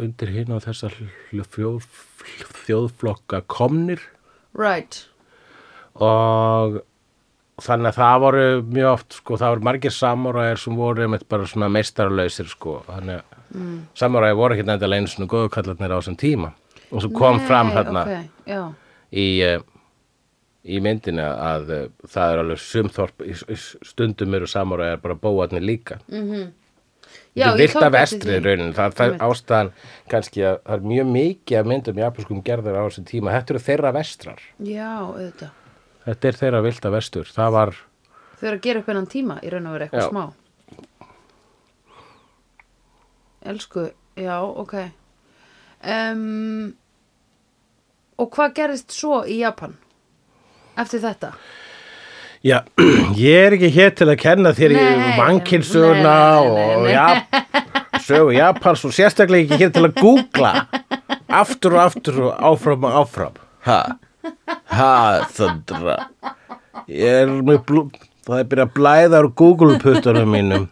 undir hinn á þessa hl- fjó- þjóðflokka komnir Right. og þannig að það voru mjög oft sko, það voru margir samuræðir sem voru einmitt bara svona meistaralausir sko, þannig að mm. samuræði voru ekki nefnda einu svona góðu kallarnir á þessum tíma og svo kom Nei, fram þarna Ok, já. í, eh, í myndinu að eh, það er alveg sumþorp í, í stundum eru samuræðir bara bóarnir líka Já, þetta ég tók er vilt af eftir estri því. raunin það, það er Einmitt. ástæðan kannski að það er mjög mikið að myndum japanskum gerðar á þessum tíma þetta eru þeirra vestrar Já, auðvitað. þetta er þeirra vilda vestur það var Þau eru að gera upp hennan tíma í raun og vera eitthvað Já. smá. Elsku, já, ok. Um, og hvað gerist svo í Japan? Eftir þetta? já, ég er ekki hér til að kenna þér í Nei, vankinsöguna nei, nei, nei, og nei. ja, sögu Japans og sérstaklega ekki hér til að googla aftur og aftur og áfram og áfram ha, ha, þöndra ég er með blú það er byrjað að blæða úr Google-puttunum mínum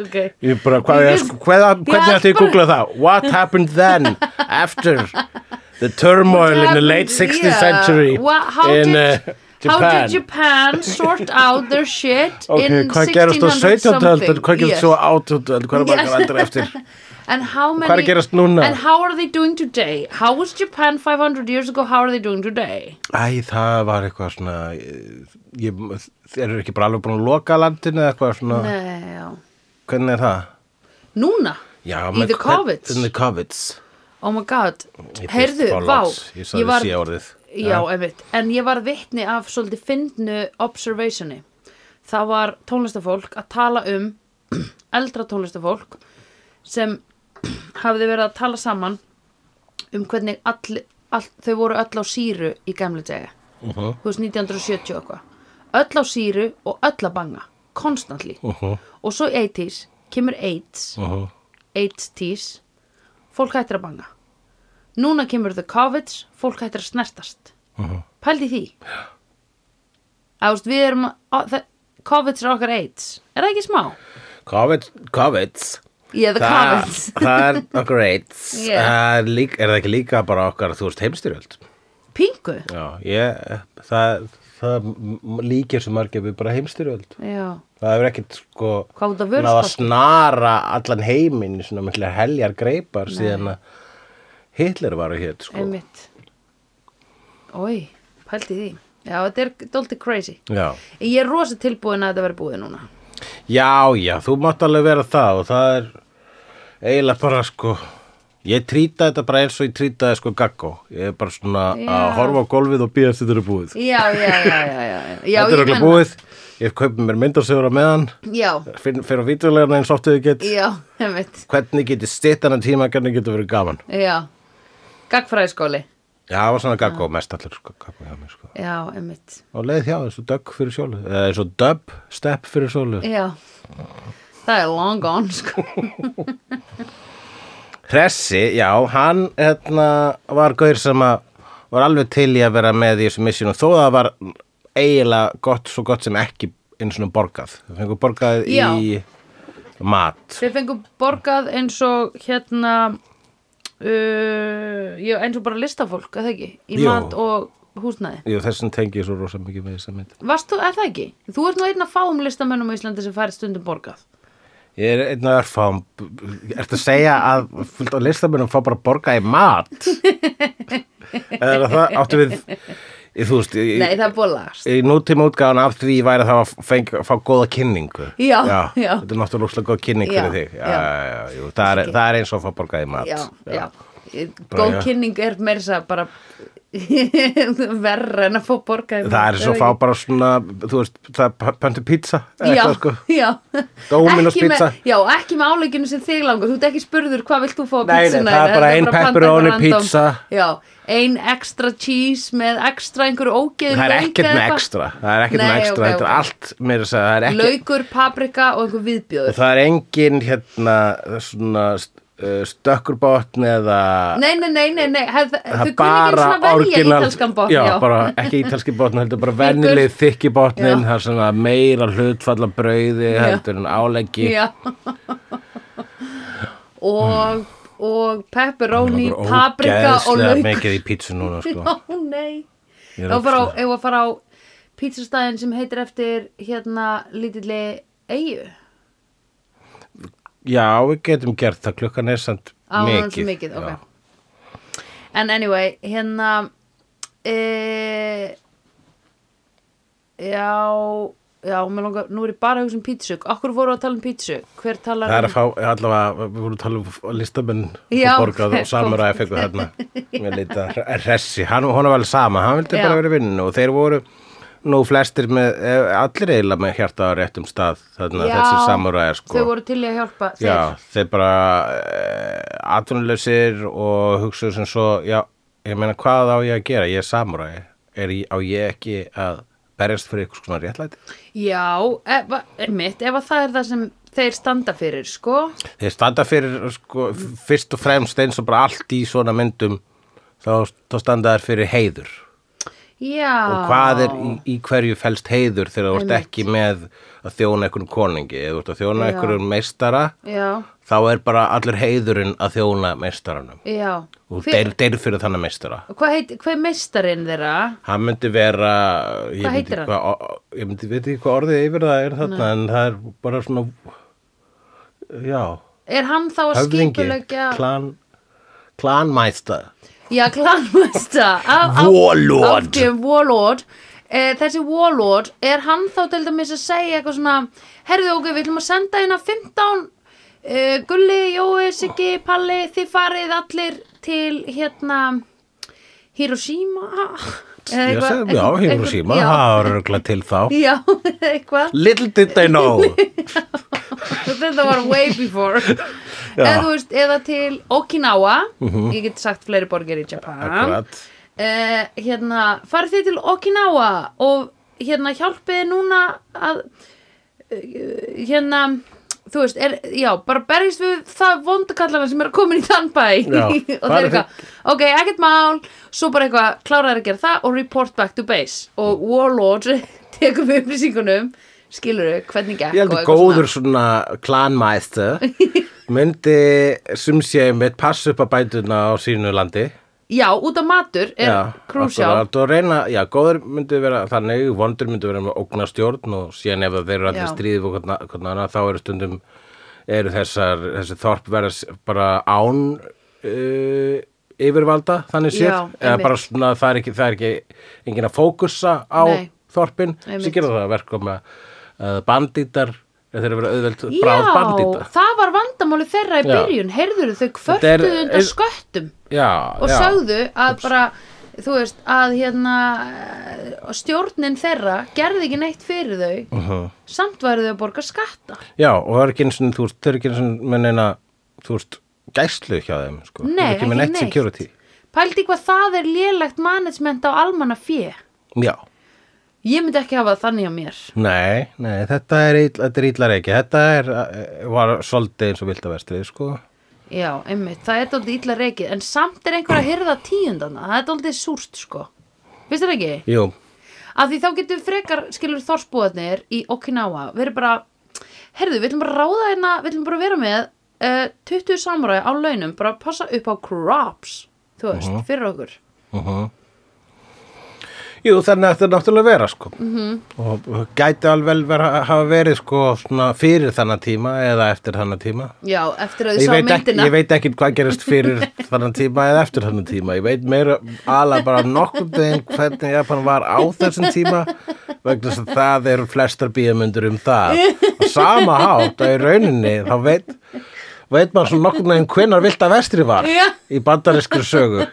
Ok. Ég bara, hvað, ég, sko, hvað, hvernig Ég- ætti ég að googla það? What happened then, after the turmoil in the late 16th Yeah. century Wha- how in did- uh, How did Japan? Japan sort out their shit Ok, in hvað gerast á 1600 17. something? öld, hvað gerast Yes. svo á 18. öld, hvað er margar Yes. aldrei eftir? And how many er að gerast núna? And how are they doing today? How was Japan 500 years ago? How are they doing today? Æ, það var eitthvað svona, ég, þeir eru ekki bara alveg búin að loka landinu eða eitthvað svona, Nei, já. hvernig er það? Núna? Já, Í the COVIDs? In the COVIDs. Oh my god Ég fyrst Heyrðu, fá vá loks, Ég sagði var... síða orðið. Já, einmitt En ég var vitni af svolítið fyndnu observationi Það var tónlistafólk að tala um eldra tónlistafólk sem hafði verið að tala saman um hvernig all, all, þau voru öll á síru í gamla degi Uh -huh, þú veist 1970 og eitthvað öll á síru og öll að banga konstantli uh -huh, og svo 80s kemur AIDS uh -huh. 80s fólk hættir að banga núna kemur the COVIDs fólk hættir að snertast Mhm. pældi því að veist við erum að, það, COVIDs er okkar AIDS er það ekki smá? COVID, COVIDs. yeah the Þa- COVIDs það er okkur eitt Yeah. yeah. lík, er það ekki líka bara okkar þú veist heimstyrjöld pingu já, ég, það, það m- líkir svo margir við bara heimstyrjöld já það hefur ekkert sko Hvað út af náð að vöruskorti? snara allan heiminn í svona mikla heljar greipar síðan að Hitler var hér sko einmitt oi pældi því já þetta er doldið crazy já. ég er rosa tilbúin að þetta verði búið núna já, já, þú mátt alveg vera það og það er eiginlega bara sko ég trýta þetta bara eins og ég trýtaði sko gaggó ég er bara svona að Já. horfa á golfið og býða þetta eru búið já, já, já, já, já, já. já Þetta er ég okkur meina- búið, ég kaupi mér myndarsögur á meðan, já, finn- fer á vídeolegana eins oft og ég get, já, hemmitt hvernig geti stitt hann tíma, hvernig getur verið gaman. já, gagfræðiskóli Já, það var svona gaggó, mest allir sko, gaggó hjá mér sko. já, hemmitt Og leið hjá eins og dögg fyrir sjólu, eða eins og dub, step fyrir sjólu. já, það er long gone sko. Hressi, já, hann hérna, var gaur sem að var alveg til í að vera með í þessu missjónu, þó það var eiginlega gott, svo gott sem ekki eins og borgað. Það fengur borgað Já. í mat. þeir fengu borgað eins og hérna uh, já, eins og bara listafólk eða ekki, í Jú. mat og húsnæði Jú, þessum tengi ég svo rosa mikið með þess að mynd. Varst þú, er það ekki? Þú ert nú einn að fáum listamönnum á Íslandi sem færi stundum borgað Ég er einn af örfáum, ertu að segja að fullt á listamönnum fá bara að borga í mat? Eða er það áttu við, í, þú veist, í, Nei, það er búið að lagast í nútíma útgáðan af því væri það að feng, fá góða kynningu. Já, já. Þetta er náttúrulega rosalega góð kynning Já, fyrir þig. Já, já. já, já, jú, það, er, það er eins og að fá borga í mat. Já, já, Bara, Góð já. kynning er meira þess að bara verra en að fá borgað í það mat, er svo ekki? fá bara svona þú veist, það er pöntu pizza Já, eða eitthvað, sko. já Dominos Ekki með- pizza. Já, ekki með áleikinu sem þig langar Þú ert ekki spurður hvað vilt þú fá á Nei, nei, pizzuna það er þína, bara þetta ein að panta pepperoni eitthvað random. pizza. Já, ein extra cheese með extra einhverju ógeður það er ekkert með ekstra það er ekkert með Nei, ekstra, ok, þetta er ok. allt meira að segja, það er ekki Laukur, paprika og einhver Og viðbjóður það er engin hérna svona uh, stökkurbotn eða Nei, nei, nei, nei, nei hef, það Þau kunni ekki svona velja ítalskan botn já, bara ekki ítalski botn heldur bara vennileg þykki botnin Já. það er svona meira hlutfalla brauði Já. heldur en áleggi Já Og, og pepperoni, Það er bara paprika og ógeðslega laukur mikið í pítsu núna sko. Ó nei Ég er Ef að fara á, ógeðslega- ef að fara á pítsastæðin sem heitir eftir hérna lítilli eigu já, við getum gert það klukkan er samt á hann er svo mikið, mikið Já. okay. En anyway, hérna e, Já Já, mér langar, nú er ég bara að hugsa um pítsu Akkur voru að tala um pítsu? Hver talar það um er að fá allavega, við vorum að tala um listamenn Já. og borgað og samuræði fengu þarna með lita ressi, hann, hann var vel sama hann vildi Já. bara vera í vinninu og þeir voru nú flestir með, eh, allir eiginlega með hjarta á réttum stað þarna Já, þessi samuræði sko Þau voru til í að hjálpa þeir já, þeir bara eh, atvinnuleysir og hugsaðu sem svo já, ég meina hvað á ég að gera ég er samuræði, er, ég- á ég ekki að berjast fyrir ykkur svona réttlæti Já, ef, að- mitt, ef að það er það sem þeir standa fyrir, sko þeir standa fyrir sko, f- fyrst og fremst eins og bara allt í svona myndum þá, þá standa þær fyrir heiður Já og hvað er í, í hverju felst heiður þegar þú ert Ah. Einmitt. ekki með að þjóna einhverjum koningi eða þú ert að þjóna Já. einhverjum meistara Já, þá er bara allur heiðurinn að þjóna meistaranum já og Hver- deyr, deyr fyrir þannig meistara Hvað heit, hvað er meistarinn þeirra? hann myndi vera ég Hvað myndi- heitir hann? hvað- o- o- ég myndi, veit ekki hvað orðið yfir það er þarna en það er bara svona já, Er hann þá að höfðingi skipulegja? klan, klanmæsta Já, klanmesta. Á- á- Warlord. Átti, um Warlord. Eh, þessi Warlord, er hann þá til dæmis að segja eitthvað svona, herðu okkur, við ætlum að senda hérna 15 eh, Gulli, Jói, Siggi, Palli, þið farið allir til hérna Hiroshima? Eða Ég eitthvað- sagði, já, eitthvað- Hiroshima, já. það var örgulega til þá. Já, eitthvað. Little did I know. þetta var way before eða, þú veist, eða til Okinawa ég get sagt fleiri borgir í Japan Mhm. Akkurat. uh, hérna, farið þið til Okinawa og hérna hjálpið þið núna að uh, hérna þú veist, er, já, bara berjist við það vondakallana sem er að koma inn í þann bæ Já, og það er farið eitthvað ok, ekkert mál, svo bara eitthvað kláraði að gera það og report back to base Mm. og Warlord tekur við upplýsingunum skilur hvernig gekk Ég held og að eitthvað svona. góður svona klanmæsta myndi sem sé mitt passa upp að bætuna á sínu landi. Já, út af matur er krúsjál akkurat, og reyna, já, góður myndi vera þannig, vondur myndi vera með ógnastjórn og síðan ef þeir eru allir Já. stríðið og hvernig, hvernig annað, þá eru stundum eru þessar, þessi þorp verða s- bara án uh, yfirvalda, þannig séð Já, eða einmitt. bara svona, það er ekki, það er ekki engin að fókussa á Nei. þorpin Einmitt. sem gera það að verka með uh, bandítar, þeir eru verið auðveld bráð Já, bandíta það var vandamáli þeirra í Já. byrjun Heyrðuru þau er- kvörtuðu undan er- sköttum Já, og já. sögðu að bara þú veist, að hérna eh, stjórnin þeirra gerði ekki neitt fyrir þau Mm. Hm. samt væri þau að borga skatta Já, og það er ekki eins og þú veist, þau eru ekki eins og með neina, þú veist, gæslu hjá þeim, sko. Þau eru Nei, með neitt. Security. Pældi hvað það er lélegt management á almanna fjö Já. Ég myndi ekki hafa það þannig á mér Nei, nei, þetta er, ill, þetta er illar ekki. Þetta er, eh, var svolítið eins og vilt að verstrið, sko. Já, einmitt, það er dálítið illa reikið en samt er einhver að hyrða tíundana það er dálítið súrt sko Vist það ekki? Jú, Af því þá getum frekar, skilur þorsbúðarnir í Okinawa, verið bara herðu, við ætlum bara að ráða hérna, við ætlum bara að vera með uh, 20 samurai á launum, bara að passa upp á crops þú veist, fyrir okkur jú, þannig ætti þetta náttúrulega að vera, sko. Mm -hmm. Og gæti alveg vera, hafa verið, sko, svona fyrir þannig tíma eða eftir þannig tíma. Já, eftir að Ég þið sá veit, ekki, myndina ég veit ekki hvað gerist fyrir þannig tíma eða eftir þannig tíma ég veit meira ala bara nokkuð veginn hvernig Japan var á þessum tíma vegna þess að það eru flestar bíamundur um það og sama hátt að í rauninni þá veit, veit maður svona nokkuð veginn hvenar vilt að vestri var Já. í bandarískur sögu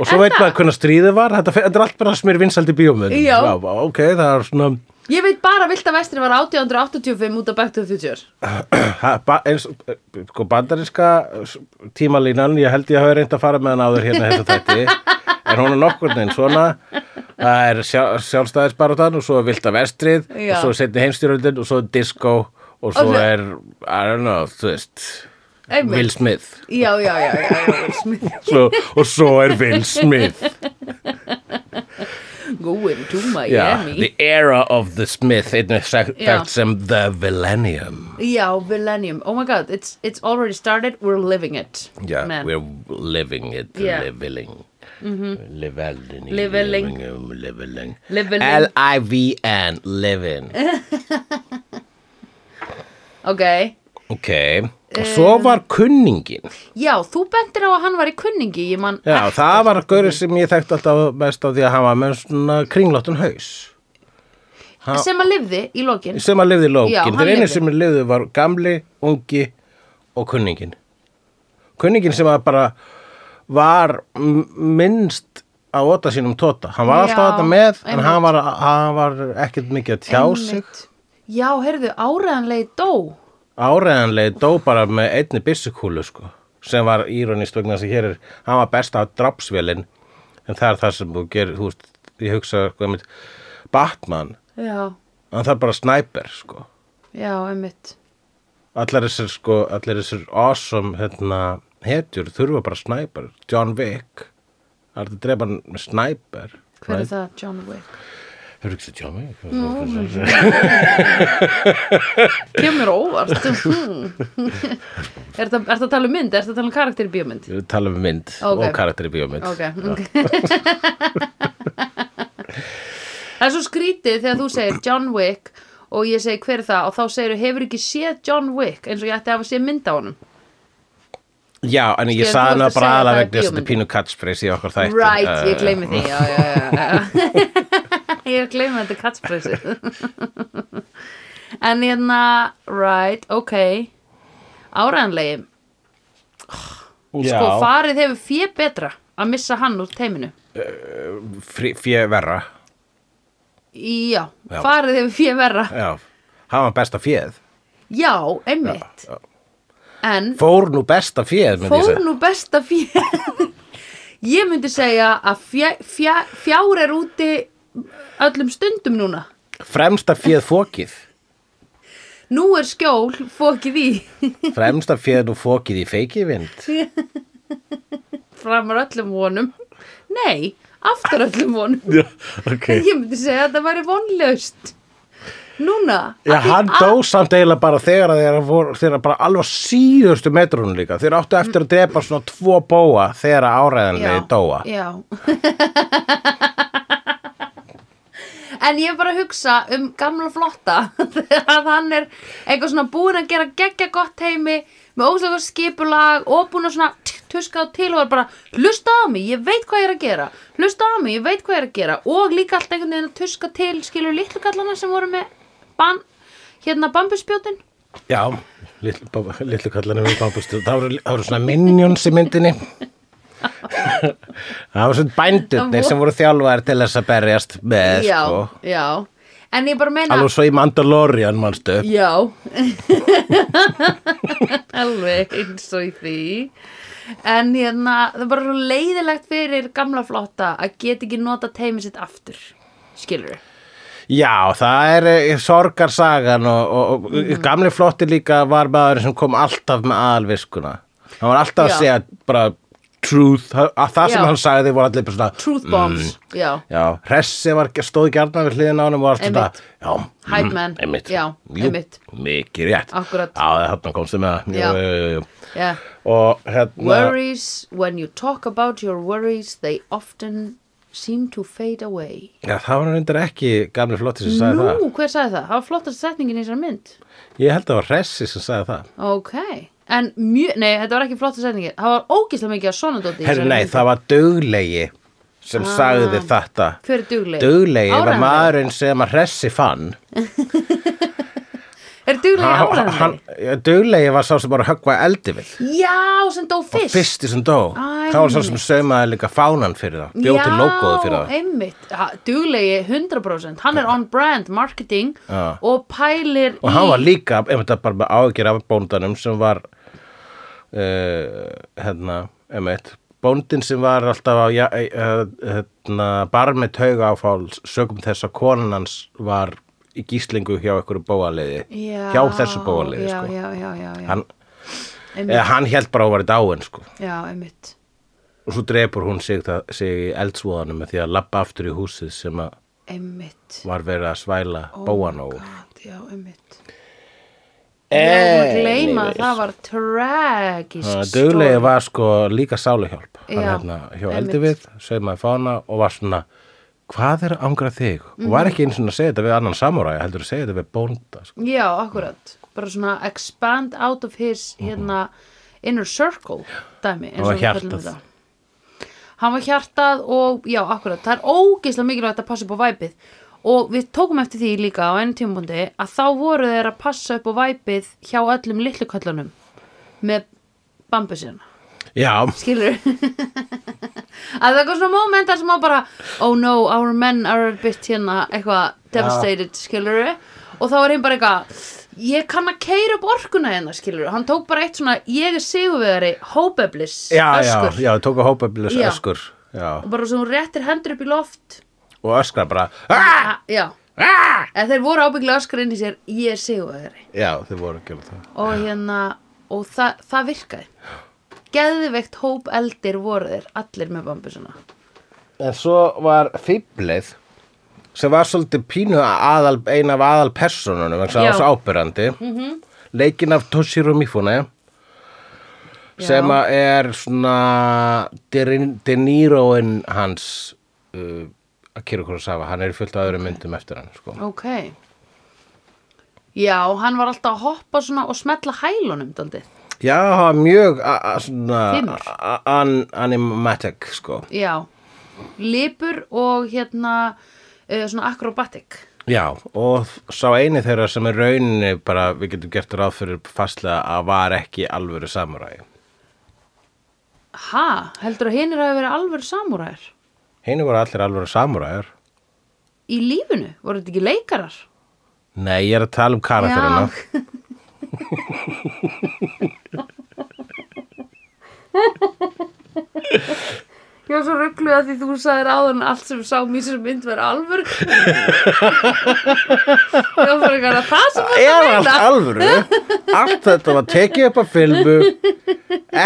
Og svo Er veit það? maður hvernig stríðið var, þetta, fe- þetta er allt bara sem er vinsældi bíómynd. Já. Ok, það er svona, Ég veit bara að Vilda Vestri var 1885 út af Back to the Future ha, ba, eins, sko bandarinska s- tímalínan, ég held ég hafi reynd að fara með hann áður hérna í þessu þætti. En hún er nokkur neinn svona, það er sjá, sjálfstæðisbaróttan og svo er Vilda Vestrið Já. og svo er setni heimstyrjöldin og svo er disco og svo Og svo- er, I don't know, þú veist, Einmitt. Will Smith. Já, já, já, já, já Will Smith. Svo, og svo er Will Smith. Going to Já, Miami the era of the Smith einnig sagt Já. sagt sem the millennium Já, Millennium Oh my god, it's, it's already started, we're living it Já, Man. we're living it Já. living Livelling Livelling. um, Livelling Livelling. L-I-V-N Living Ok Ok, og svo var kunningin Já, þú bendir á að hann var í kunningi Ég man Já, það var gaurið sem ég þekkti alltaf mest á því að hann var með svona kringláttun haus sem að lifði í lokin sem að lifði Já, lókin hann þeir einu lifði. sem lifði var gamli, ungi og kunningin kunningin sem að bara var m- minnst á óta sínum tóta hann var Já, alltaf þetta með en einmitt. hann var, hann var ekkert mikið að tjá sig Einmitt. Já, heyrðu, áræðanlegi dó áreðanlega dó bara með einni byssukúlu sko, sem var íronist vegna þess að hér er, hann var besta á drapsvélin en það er það sem þú gerir þú veist, ég hugsa sko, einmitt, Batman, Já, hann þarf bara snæper sko já, einmitt allar þessir sko, allar þessir awesome hérna, hetjur þurfa bara snæper John Wick það er þetta drepan með snæper Hver er það, John Wick? Hefur ekki séð John Wick? Kemur á óvart Hmm. Er þetta er þetta að tala um mynd? Er þetta að tala um karakter í bíómynd? Ég vil tala um mynd Ok. og karakter í bíómynd Ok, ok Það er svo skrítið þegar þú segir John Wick og ég segi hver er það og þá segir hefur ekki séð John Wick eins og ég ætti að hafa séð mynd á honum Já, en ég Skilur, þú saði hana ert að bara segja það aðalega er vegna þess að þetta er bíómynd. pínu catchphrase í okkar þætti Eh, Right, uh, ég gleymi því, já, já, já, já. Ég gleymi þetta katspreysið En hérna, right, ok Áræðanlegi, sko Já, farið hefur fjö betra að missa hann úr teiminu frí- fjö verra Já, Já. farið hefur fjö verra Já, hann var besta fjöð Já, einmitt En Fór nú besta fjöð fór nú besta fjö Ég myndi segja að fjö, fjö, fjár er úti öllum stundum núna Fremsta fjöð fókið Nú er skjól fókið í Fremsta fjöð nú fókið í feikivind framar öllum vonum nei, aftur öllum vonum Já, ok ég myndi segja að það væri vonlaust núna Já, af því hann að- dó samt eiginlega bara þegar að þeirra voru, þeirra bara alveg á síðustu metrunum líka. Þeir áttu eftir að drepa svona tvo bóa þegar að Já, áræðanlega dóa. já En ég er bara að hugsa um gamla flotta þegar að hann er eitthvað svona búinn að gera geggja gott heimi með óslega skipulag og búinn að svona tuska á til og er bara hlusta á mig, ég veit hvað ég er að gera hlusta á mig, ég veit hvað ég er að gera og líka allt einhvern veginn að tuska til skilur litlu kallana sem voru með ban, hérna bambuspjótin Já, litlu, bá- litlu kallanum í bambustur. Það voru, það voru svona minions í myndinni. það voru svona Það voru- bændurnir sem voru þjálfaðir til þess að berjast með, Já, sko. já En ég bara meina Alveg svo í Mandalorian, manstu. Já Alveg eins og í því En hérna það er bara svo leiðilegt fyrir gamla flotta að geta ekki nota teimi sitt aftur Skilur við Já, það er eh, sorgarsagan og, og, og Mhm. gamli flotti líka var maður sem kom alltaf með aðalviskuna. Hann var alltaf Já. að segja bara truth, að það sem Já. hann sagði voru allir bara svona, Truth bombs, já já, hressi var, stóð gjarnan við hliðin á hann og var alltaf Einmitt. svona, já, mhm, Hype man, einmitt, já, Jú, einmitt mikið rétt, Akkúrat. já, þarna komstu með það, Já. jú, jú, jú, jú. yeah. og hérna, Worries, when you talk about your worries they often seem to fade away já, það var reyndar ekki gamli flotti sem sagði það, Nú, hver sagði það? Það var flottast setningin í þessari mynd ég held að það var hressi sem sagði það. Ok, en mjög, nei, þetta var ekki flottast setningin Það var ógislega mikið að svona dóti í Herru, þessari nei, mynd. það var duglegi sem Ah. sagði þetta. Hver er duglegi? Duglegi var Áreiðanlegur? maðurinn sem að hressi fann. Er duglega í Hann- áræðandi? hann- Duglegi var sá sem var að höggva eldi við Já, sem dó og fyrst. fyrsti sem dó Æ, þá var sá sem einmitt. saumaði líka fánan fyrir það bjóti Já, logoðu fyrir það einmitt, ha, duglegi 100% hann er on brand, marketing Já. og pælir og hann var líka einmitt að bara með ágjör af bóndanum sem var uh, hérna einmitt bóndin sem var alltaf á ja, uh, hérna, bara með tauga áfál sögum þess að konan hans var í gíslingu hjá einhverju bóaliði já, hjá þessu bóaliði já, sko. já, já, já, já. hann, einmitt, eða, hann held bara að hún var í dáin sko. já, einmitt og svo drepur hún sig, það, sig í eldsvoðanum með því að lappa aftur í húsið sem að einmitt var verið að svæla Oh bóan my og God, já, einmitt Já, maður gleyma að það var tragisk Duglegi story. var sko líka sáluhjálp hann Já, hérna hjá einmitt. Eldivið, saumaði fána og var svona hvað er að angra þig? og Mhm. var ekki eins og að segja þetta við annan samuræja heldur að segja þetta við bónda sko. Já, akkurat bara svona expand out of his hérna, inner circle dæmi, eins Mhm. Hann var og við kallum hjartað. þetta Hann var hjartað og já, akkurat, það er ógeislega mikilvægt að passa upp á væpið og við tókum eftir því líka á einu tímabundi að þá voru þeir að passa upp á væpið hjá öllum litlu kallunum með bambusina já, skilur að það kom svona moment þar sem á bara oh no, our men are a bit hérna eitthvað devastated, skilur og þá var hinn bara eitthvað ég kann að keira upp orkuna hérna, skilur hann tók bara eitt svona, ég er sigurvegari hópeblis, já, já, öskur já, tók að hópa bílis Já. öskur já. og bara svo hún réttir hendur upp í loft og öskra bara "Ah! ah, já, Ah!" eða þeir voru ábygglega öskur inn í sér, ég er sigurvegari já, þið voru að gera það og hérna, og það, það virkaði geðveikt hópeldir voru þeir allir með bambusuna en svo var fýblið sem var svolítið pínu aðal, ein af aðal personunum það Já. Mhm. var svo ábyrrandi mm -hmm. leikin af Toshiro Mifune Já. sem að er svona De- De Niroin hans uh, Akira Kurosawa, hann er í fullt af öðrum myndum eftir hann sko. Ok. Já, hann var alltaf að hoppa svona og smetla hælunum daldið. já, hann var mjög a- a- svona Fimur. a- an animatic sko. Já. Lipur og hérna uh, svona akrobatik. já, og sá eini þeirra sem er rauninni bara, við getum gert ráð fyrir fastlega að var ekki alvöru samuræði Ha, heldur að hinnir hafi verið alveg samúræðir? Henni voru allir alveg samúræðar. Í lífinu? Voru þetta ekki leikarar? Nei, ég er að tala um karakterina. Já. Ég var svo ruggluð að því þú sagðir áðan allt sem sá mér sem mynd verið alvör. Ég var fyrir að það sem Er var allt alvöru? Allt þetta var tekið upp af filmu,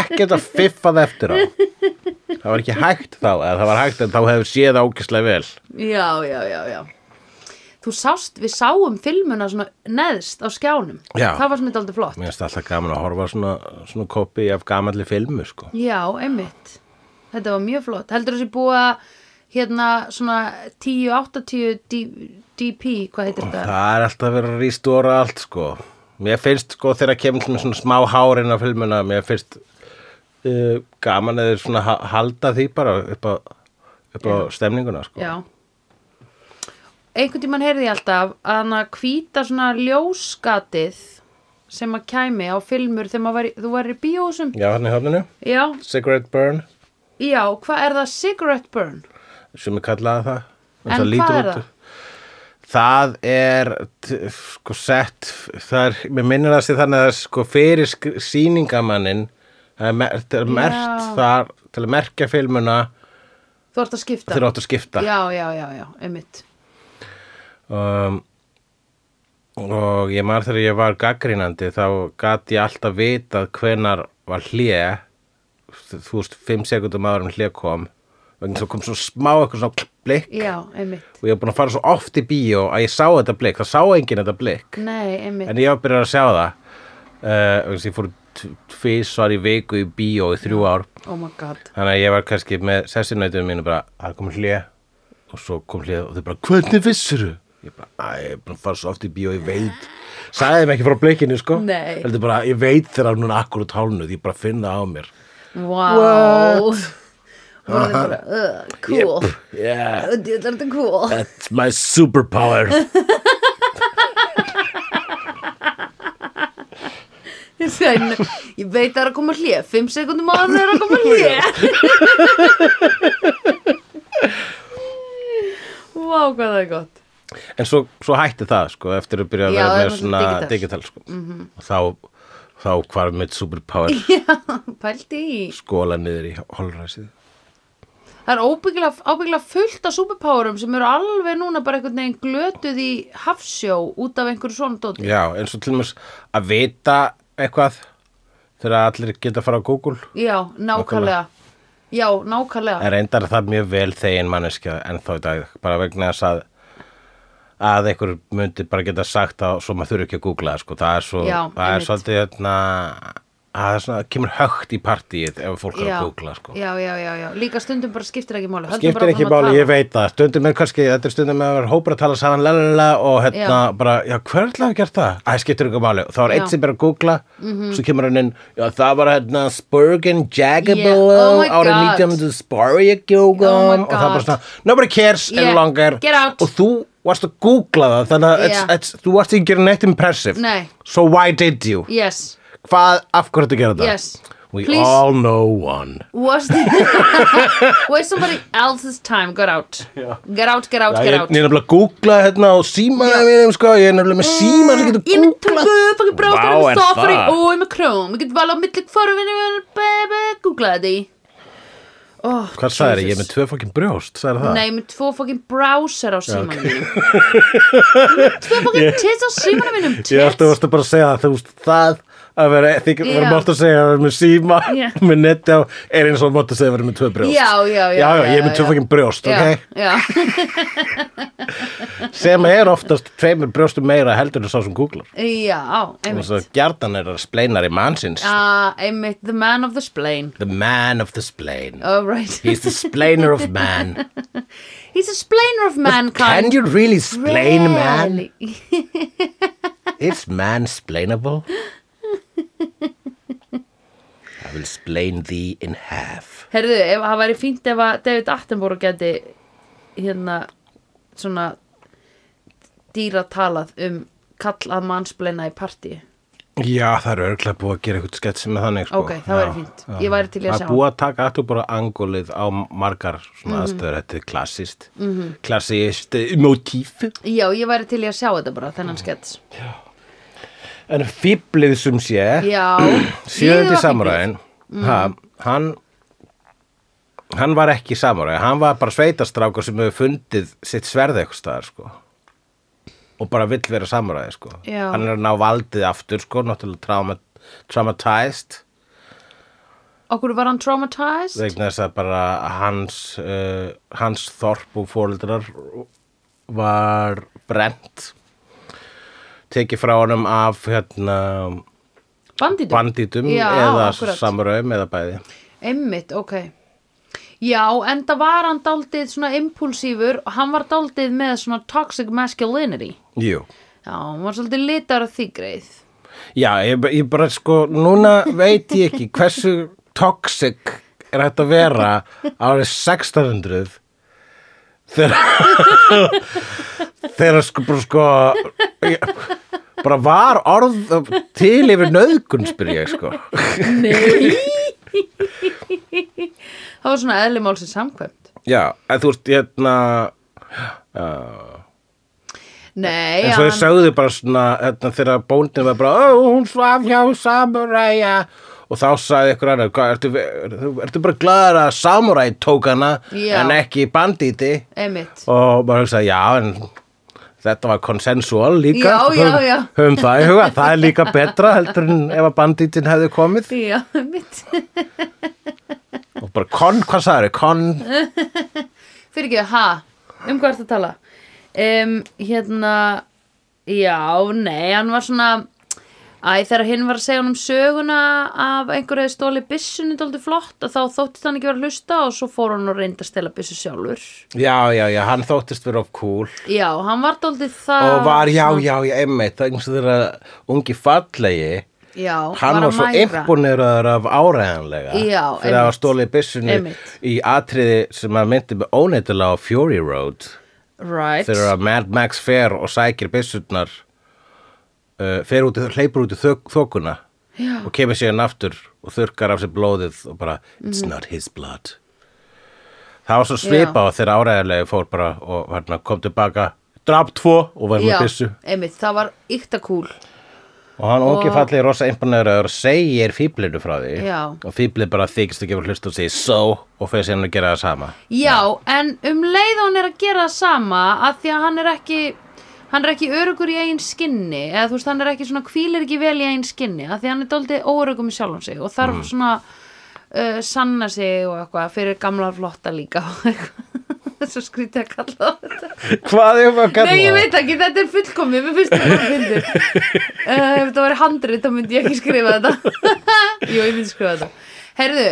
ekkert að fiffað eftir á. Það var ekki hægt þá, eða það var hægt en þá hefur séð það ókislega vel. Já, já, já, já. Þú sást, við sáum filmuna svona neðst á skjánum. Já. Það var sem þetta aldrei flott. Mér finnst alltaf gaman að horfa á svona, svona kopi af gamalli filmu, sko. Já, einmitt. Þetta var mjög flott. Heldur þessi búið að hérna svona 1080 D- DP, hvað heitir þetta? Það er alltaf verið að rýstóra allt, sko. Mér finnst, sko, þegar kemur til með svona smá hárin á filmuna, mér finnst uh, gaman eða svona ha- halda því bara upp á, upp á stemninguna, sko. Já. Einhvern tímann heyrði ég alltaf að hann að hvíta svona ljóskatið sem að kæmi á filmur þegar maður væri, þú væri í bíósum. Já, hann í höfninu. Já, Cigarette burn, já, hvað er það? Cigarette burn? sem ég kallaði það. En það hvað lítur er út- Það er t- sko sett, það er, mér minnir það sér þannig að það er sko fyrir sk- sýningamannin, það er mer- það er mert Já. þar til að merkja filmuna Þú ert að skipta. þegar þú átt að skipta. Já, já, já, já, einmitt. um, og ég marg þegar ég var gaggrínandi þá gat ég alltaf vitað hvenar var hlje þú veist, fimm sekundum áður en hlje kom vegna svo kom svo smá eitthvað svona blik Já, einmitt. og ég var búin að fara svo oft í bíó að ég sá þetta blik, það sá enginn þetta blik Nei, einmitt. en ég var byrjað að sjá það uh, vegna þess að ég fór tvisvar í viku í bíó í þrjú ár Oh my god. Þannig að ég var kannski með sessinautunum mínu bara, það er komið hlið og svo kom hlið og þau bara, hvernig vissuru? Ég bara, æ, ég er búin að fara svo oft í bíó, ég veit Sæði þeim ekki frá blikinu, sko Nei. Heldur bara, ég veit þeirra núna akkurat hálnuð, ég bara finn það á mér Wow. Voru þið bara, uh, cool. Yep. Yeah, Þetta er cool. that's my superpower Sveinu, ég veit að það er að koma hlýja Fimm sekundum á hann er að koma hlýja Vá, hvað það er gott En svo, svo hætti það sko eftir að byrja að Já, vera það með var svona svona digital, digital. Mhm. sko og þá, þá hvarf mitt superpower Já, pældi í skóla niður í holræsið Það er óbyggilega, ábyggilega fullt af superpowerum sem eru alveg núna bara einhvern veginn glötuð í hafsjó út af einhverju svona dóti Já, eins og til mér að vita eitthvað þegar allir geta að fara á Google Já, nákvæmlega Já, nákvæmlega en reyndar er það mjög vel þegin manneskja en þá í dag bara vegna þess að að einhver myndi bara geta sagt að svo maður þurfi ekki að googla það, sko. það er svo, Já, það er einmitt. svolítið hérna að það er svona, kemur högt í partíið ef fólk er Já, að googla sko. já, já, já, já, líka stundum bara skiptir ekki máli höldum bara skiptir ekki áfram að máli, tala. ég veit það stundum er kannski, þetta er stundum með að vera hópur að tala saman lalala og hérna Já. bara, já hvernig hafa gert það? Æ, skiptir ekki máli þá Já. Mhm. er einn sem er að googla, svo kemur hann inn já það var hérna Spurgen Jagabilo Yeah, oh my árið God. 1900 Sparjagjógum Oh my og það er bara God. svona, nobody cares Yeah, any longer get out. og þú varst að googla það þannig að Yeah. it's, it's, þú varst ekki að gera neitt impressive Nei. so why did you? Yes, Hvað, af hverju ertu að gera það? Yes. We Please. all know one was was somebody else's time got out get out, get out, Já, get ég, out ég er nefnilega að googla hérna á símaðið mínum sko, ég er nefnilega með síma ég sem er getur með googlað tungu, fangir bráðfæri Vá, með er stoffari það? og ég er með króm ég get vala á milli forvinni baby, googlaði því oh, Hvað sagði þér? Ég er með Jesus. tvö fokkin brjóst, sagði það? Nei, með tvo fokkin browser á símanum mínum Tvö fokkin tits á símanum mínum ég er Tits alltaf varst að bara segja það, þú veist, það að vera, þið Já. verðum alltaf að segja að vera með síma, Já. með netti á, er eins og mátt að segja að vera með tvö brjóst. Já, já, já, Já, já, ég já, er með tvö já. fokkin brjóst, Já, ok? já Sem er oftast tveimur brjóstum meira heldur en sá sem googlar. Já, Og einmitt svo gjarnan er að spleinar í mannsins. Ah, einmitt, the man of the splain The man of the splein. All right He's the splainer of man. He's a splainer of mankind Can you really splain man? Really? It's mansplainable. I will splain thee in half. Herðu, ef það væri fínt ef að David Attenborough geti hérna svona dýra talað um kall að mannsbleina í partí Já, það eru örglega búið að gera eitthvað sketsi með þannig, sko. Ok, það væri fínt. Ég væri til í að Það sjá Mhm. er búið að taka aftur bara angólið á margar svona aðstöður, þetta er klassist, mm -hmm. klassist motíf. Já, ég væri til í að sjá þetta bara, þennan skets En fýblið sem sé, Já sjöðundi Liðið var samuræðin, mm. hann, hann var ekki samuræði, hann var bara sveitastrákur sem hefur fundið sitt sverð eitthvað staðar, sko. Og bara vill vera samuræði, sko. Já. Hann er að ná valdið aftur, sko, náttúrulega trauma, traumatized, fínt. Okkur var hann traumatized vegna þess að bara hans, uh, hans þorp og fóreldrar var brent, tekið frá honum af, hérna, Bandítum bandítum Já, eða akkurat. samröðum eða bæði Einmitt, ok Já, en það var hann daldið svona impulsífur og hann var daldið með svona toxic masculinity Jú. Já, hann var svolítið litar að því greið Já, ég, ég bara sko núna veit ég ekki hversu toxic er hægt að vera árið 1600 þegar þegar sko bara sko ég, bara var orð til yfir nöðgun spyr ég sko Það var svona eðli málsins samkvæmt. Já, en þú veist hérna uh, Nei, eins og þau sögðu bara svona hérna, þegar bóndin var bara ó, hún svaf hjá samuræja og þá sagði ykkur annar "Hvað, ertu, ertu, ertu bara glaður að samuræ tók hana Já. en ekki bandíti einmitt. og bara hugsaði já en þetta var konsensual líka Já, já, Höfum- já. höfum það í huga, það er líka betra heldur en ef að bandítin hefði komið Já, einmitt. og bara kon, hvað sagði þau, kon Fyrir ekki, ha, um hvað ertu að tala? Um, hérna, já, nei, hann var svona, æ, þegar hinn var að segja hann um söguna af einhverju hefði stóli byssunni dóldi flott og þá þóttist hann ekki vera að hlusta og svo fór hann og reyndi að stela byssu sjálfur. já, já, já, hann þóttist vera of cool Já, hann var dóldi það. og var já, já, já, einmitt það er eins og þeirra ungi fallegi Já, hann var að svo mæra. imponeraður af áræðanlega Já, fyrir að einmitt. hafa stólið byssunni Einmitt. í atriði sem að myndi með óneitulega á Fury Road Right. þegar að Mad Max fer og sækir byssunar uh, fer út, í- hleypur út í þök, þokuna Já. og kemur síðan aftur og þurkar af sér blóðið og bara it's Mhm. not his blood það var svo svipa á þegar áræðarlegi fór bara og hérna, kom tilbaka drap tvo og var með byssu einmitt, það var ykta kúl og hann ungi fallið er rosa imponerður og segir fíblinu frá því Já. og fíblið bara þykist ekki að hlusta og segir so og fyrir síðan að gera það sama Já, en um leið og hann er að gera það sama að því að hann er ekki hann er ekki örugur í eigin skinni eða þú veist, hann er ekki svona, hvílir ekki vel í eigin skinni að því að hann er dóldið órugum í sjálfum sig og þarf svona uh, sanna sig og eitthvað fyrir gamla flotta líka og eitthvað þessu skrítið að kalla það þetta hvað er það að kalla Nei, ég það? veit ekki, þetta er fullkomið, mér finnst þetta bara fyndir. Uh, ef þetta var handrið, þá myndi ég ekki skrifa þetta. Jú, ég myndi skrifa þetta. Heyrðu,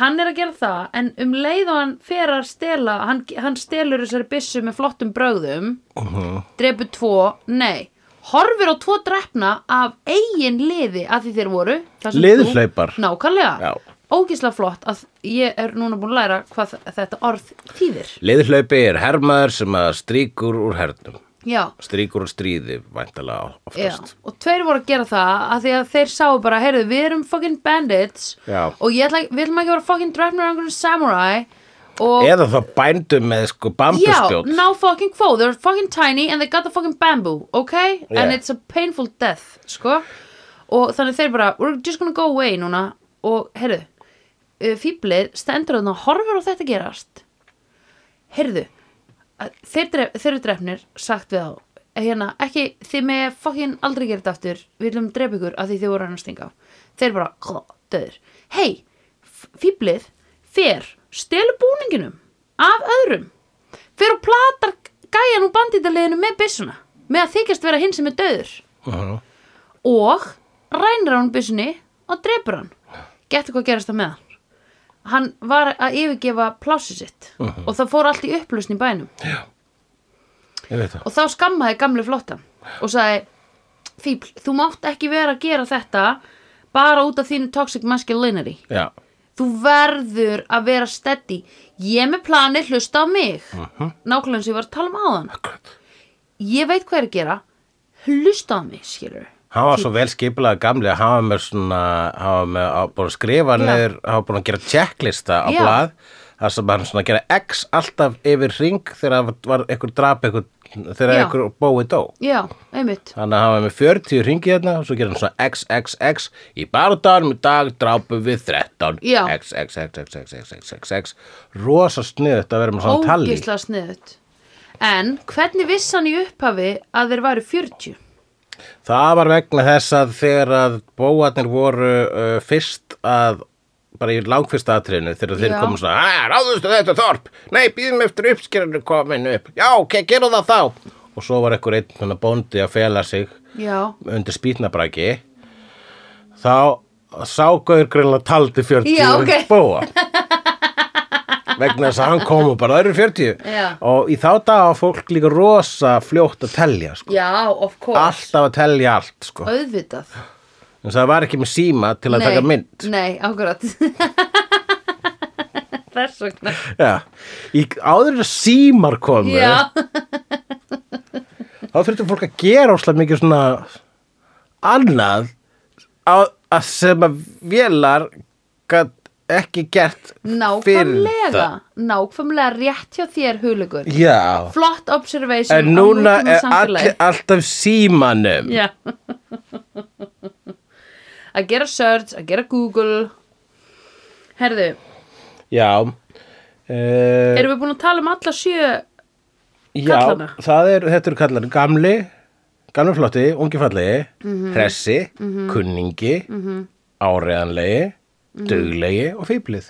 hann er að gera það, en um leið og hann fer að stela, hann, hann stelur þessari byssu með flottum brögðum, Mhm. drepur tvo, nei, horfir á tvo drefna af eigin liði að því þeir voru. þar sem Liðhlaupar. þú- Nákvæmlega. Já. Ógislega flott að ég er núna búin að læra hvað þetta orð þýðir. Liðhlaupi er hermaður sem að stríkur úr hernum. Já. Stríkur úr stríði, væntalega oftast. Já, og tveir voru að gera það að því að þeir sáu bara, heyrðu, við erum fucking bandits Já. og ég ætla, við ætlum ekki að vera fucking drefnir einhverjum samurai og Eða þá bændum með sko bambuspjót. Já, now fucking quo, they're fucking tiny and they got the fucking bamboo, okay? And Yeah. it's a painful death, sko og þannig þeir bara, we're just gonna go away núna og heyrðu uh, fíblið stendur þarna og horfir á þetta gerast heyrðu að þeir, dref, þeir eru drefnir sagt við þá eh, hérna, ekki, þið með fucking aldrei gera þetta aftur við viljum drepa ykkur af því þið voru hann að stinga á þeir bara, klá, döður hei, fíblið fer, stelur búninginum af öðrum fer og platar gæjan úr bandítaliðinu með byssuna með að þykjast vera hinn sem er döður Mhm. og rænir hann byssunni og drepur hann getur hvað gerast það með hann hann var að yfirgefa plási sitt og það fór allt í upplösn í bænum Ég veit það. og þá skammaði gamli flottan og sagði fíbl, þú mátt ekki vera að gera þetta bara út af þínu toxic masculinity Já. þú verður að vera steady ég er með planið hlusta á mig nákvæmlega eins og ég var að tala um áðan Akkurat. ég veit hvað er að gera hlusta á mig, skilur Hann var svo vel skipulega gamli að hann var með svona, hann var með að búin að skrifa niður, hann var búin að gera checklista á Já. blað, þar sem hann svona gera x alltaf yfir ring þegar var einhver drap, einhver, þegar Já. einhver bói dó. já, einmitt Þannig að hann var með 40 ringi hérna og svo gerir hann svona XXX í barðanum í dag drápum við 13 Já. XXXXXXXXX Rosa sniðut að vera með svona tali ógislega sniðut en hvernig viss hann í upphafi að þeir væru 40 Það var vegna þess að þegar að bóarnir voru uh, fyrst að bara í langfyrsta atriðinu þegar þeir Já. komu svona "Ah, Ráðustu þetta þorp, nei býðum eftir uppskerinu komin upp, já ok, gerum það þá og svo var einhver einn svona bóndi að fela sig já, undir spýtnabraki þá ságauður greinlega taldi 40 Já, ok. bóa vegna þess að hann kom og bara það eru 40 Já. og í þá dag var fólk líka rosa fljótt að telja sko. já, of course alltaf að telja allt sko. auðvitað en það var ekki með síma til að nei, taka mynd nei, akkurat þess vegna Já. Í, áður en símar komu já, þá þurfti fólk að gera óslega mikið svona annað á, að sem að vélar gat ekki gert fyrir nákvæmlega það. nákvæmlega rétt hjá þér hulugur Já, flott observation á en núna nútíma er samfélagi. all, alltaf símanum Já Að gera search, að gera Google Herðu, Já Uh, erum við búin að tala um alla sjö já, kallana? það er, þetta eru kallar gamli, gamli flotti, ungi fallegi, Mhm. hressi, kunningi, áreðanlegi, Mhm. duglegi og fýblið.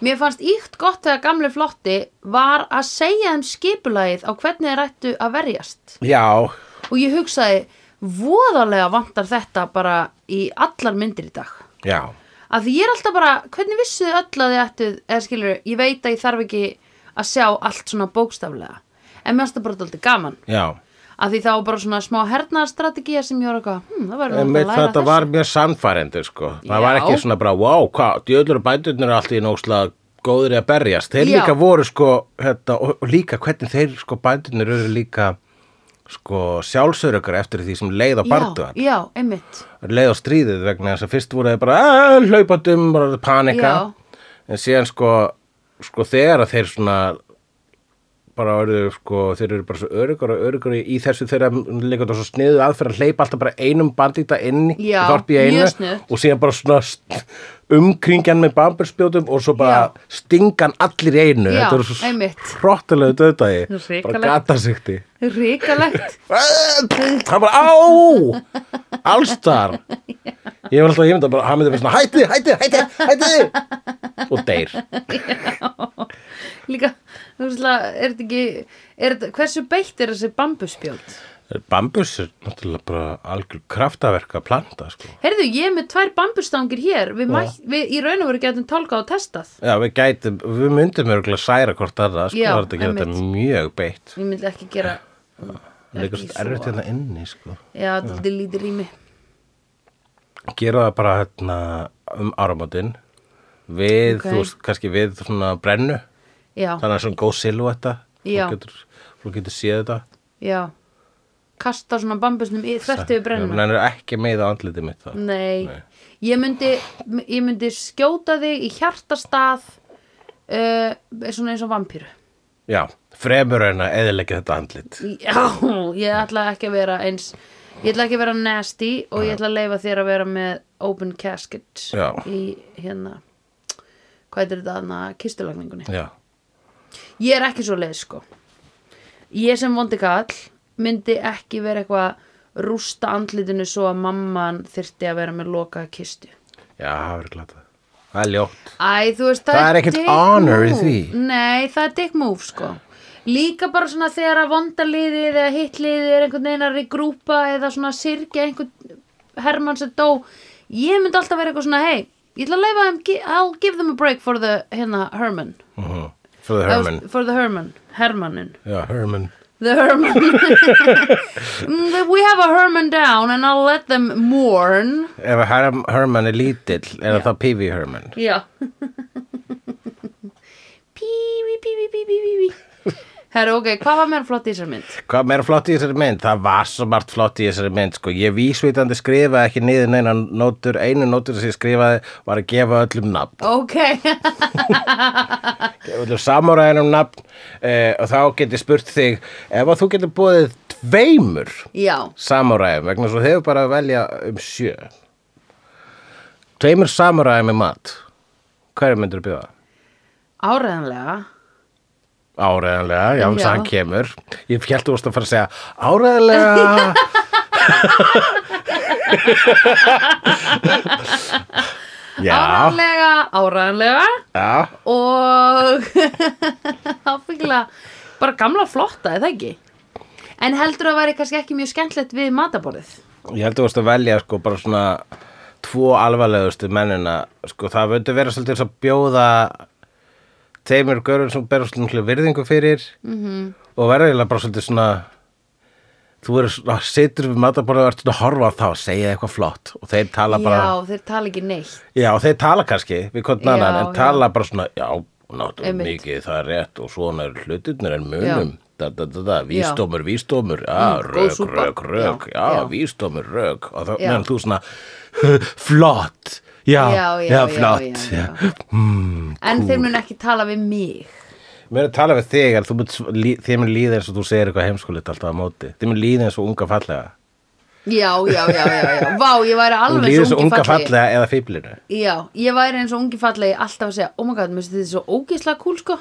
Mér fannst íkt gott þegar gamli flotti var að segja þeim skipulagið á hvernig þeir ættu að verjast Já, og ég hugsaði voðalega vantar þetta bara í allar myndir í dag já, að því ég er alltaf bara, hvernig vissu þið öll að þið ættu eða skilur, ég veit að ég þarf ekki að sjá allt svona bókstaflega en mér fannst það bara alltaf gaman já. að því þá var bara svona smá hernaðarstrategía sem ég var eitthvað, hm, það var Einmitt, að læra þetta var mjög sannfærendur sko. Það Já. var ekki svona bara, wow, hvað, djöðlur og bændurnir er alltaf í nógslega góður í að berjast. Þeir Já. líka voru sko, hérna, og, og líka hvernig þeir sko bændurnir eru líka sko sjálfsörökar eftir því sem leið á barduan Já, já, einmitt leið á stríðið vegna þess að fyrst voru þeir bara "Ah, hlaupandum, bara panika Já. en síðan sko, sko þegar að þeir svona bara eru sko, þeir eru bara svo örugur og örugur í þessu þeirra líka þetta svo sniðu aðferð að hleypa alltaf bara einum bandita inn í Já, þorpi í einu mjög sniðugt. og síðan bara svona st- umkringjan með bamburspjótum og svo bara Já. stingan allir í einu Já, þetta eru svo einmitt. hrottilegu döðdagi Hrikalegt. bara gatasíkti Ríkalegt það bara á allstar ég var alltaf að ímynda bara, hann myndi vera svona hætti, hætti, hætti, hætti og deyr Líka, þú veist að, er þetta ekki er þetta, Hversu beitt er þessi bambusspjót? bambus er náttúrulega bara algjör kraftaverk að planta sko. Heyrðu, ég er með tvær bambusstangir hér Við, mætt, við í raun og veru getum tálkað og testað já, við gætum, við myndum örgulega særa hvort aðra, sko, Já, það er þetta gerir þetta mjög beitt Ég myndi ekki gera það er líka svo erfitt hérna inni, sko Já, þetta er lítið rými gera það bara hérna um áramótin við, Ok. þú veist, kannski við svona brennu, Já, þannig að svona góð silvetta Já. þú getur, þú getur séð þetta já Kasta svona bambusnum í þvert yfir brennum Hann er ekki með á andlitið mitt það. Nei, Ég, myndi, ég myndi skjóta þig í hjartastað uh, svona eins og vampíru Já, fremur en að eðilegja þetta andlit. Já, ég ætla ekki að vera eins ég ætla ekki að vera nasty og ég ætla að leifa þér að vera með open casket Já. í hérna hvað er þetta aðna kistulagningunni Já, Ég er ekki svo leið sko Ég sem vondi kall myndi ekki vera eitthvað að rústa andlitinu svo að mamman þyrfti að vera með lokaða kistu já, það verður glata. Það er ljótt. Æ, þú veist, það, Það er ekkert dick honor í move. því. Nei, það er dick move, sko Líka bara svona þegar að vonda liðið eða hitt liðið er einhvern veginn að regrúpa eða svona sirkja einhvern hermann sem dó Ég myndi alltaf vera eitthvað svona, hei, ég ætla að leifa þeim, gi- I'll give them a break for the, hérna, Herman Mm For the Herman. For the Herman, Hermannin Já, Herman. The Herman Mm, We have a Herman down and I'll let them mourn Ef að Herm, Herman er lítill, er það P.V. Herman. Já Pívi, pívi, pívi, pívi Herru, ok, hvað var meira flott í þessar mynd? Hvað meira flott í þessari mynd? Það var svo margt flott í þessari mynd, sko. Ég vísvitandi skrifaði ekki niður neina nótur, einu nótur sem ég skrifaði var að gefa öllum nafn. Ok, öllum samuræðinum nafn eh, og þá get ég spurt þig ef að þú getur búið tveimur já, samuræðum vegna svo hefur bara að velja um sjö tveimur samuræðum með mat hverju myndur bjóða? áreðanlega Áræðanlega, já, Já. já. hann kemur ég held þú varst að fara að segja áræðanlega Já, Áreðanlega, áreðanlega já, Og áfengilega bara gamla flotta, eða ekki? En heldur að væri kannski ekki mjög skemmtlegt við mataborðið? Ég held að þú varst að velja sko bara svona tvo alvarlegustu mennina sko það vöndu vera svolítið eins og bjóða teimur görur sem berur svolítið miklu virðingu fyrir -hmm. og verður eiginlega bara svolítið svona þú verður svona, situr við matabóra og ert svona að horfa á þá og segja eitthvað flott og þeir tala bara, Já, þeir tala ekki neitt já, og þeir tala kannski við hvort Já, annan, en já. tala bara svona já, náttúrulega Einmitt. mikið, það er rétt og svona er hlutirnir en munum da, da, da, da, Já. vísdómur, vísdómur já, Mm, góð rök, súpa. rök, rök Já, já, já. vísdómur, rök og þá Já. meðan þú svona flott, já, Já, já, já, flott já, já, já. En þeir mun ekki tala við mig mér er að tala við þig en þú munt, sv- lí- þér mun líða eins og þú segir eitthvað heimskulit alltaf á móti, þér mun líða eins og unga fallega Já, já, já, já, já Vá, ég væri þú alveg líða svo eins og ungi unga fallegi fallega eða fýblinu Já, ég væri eins og ungi fallegi alltaf að segja, oh my god, mér finnst þið svo ógeðslega cool sko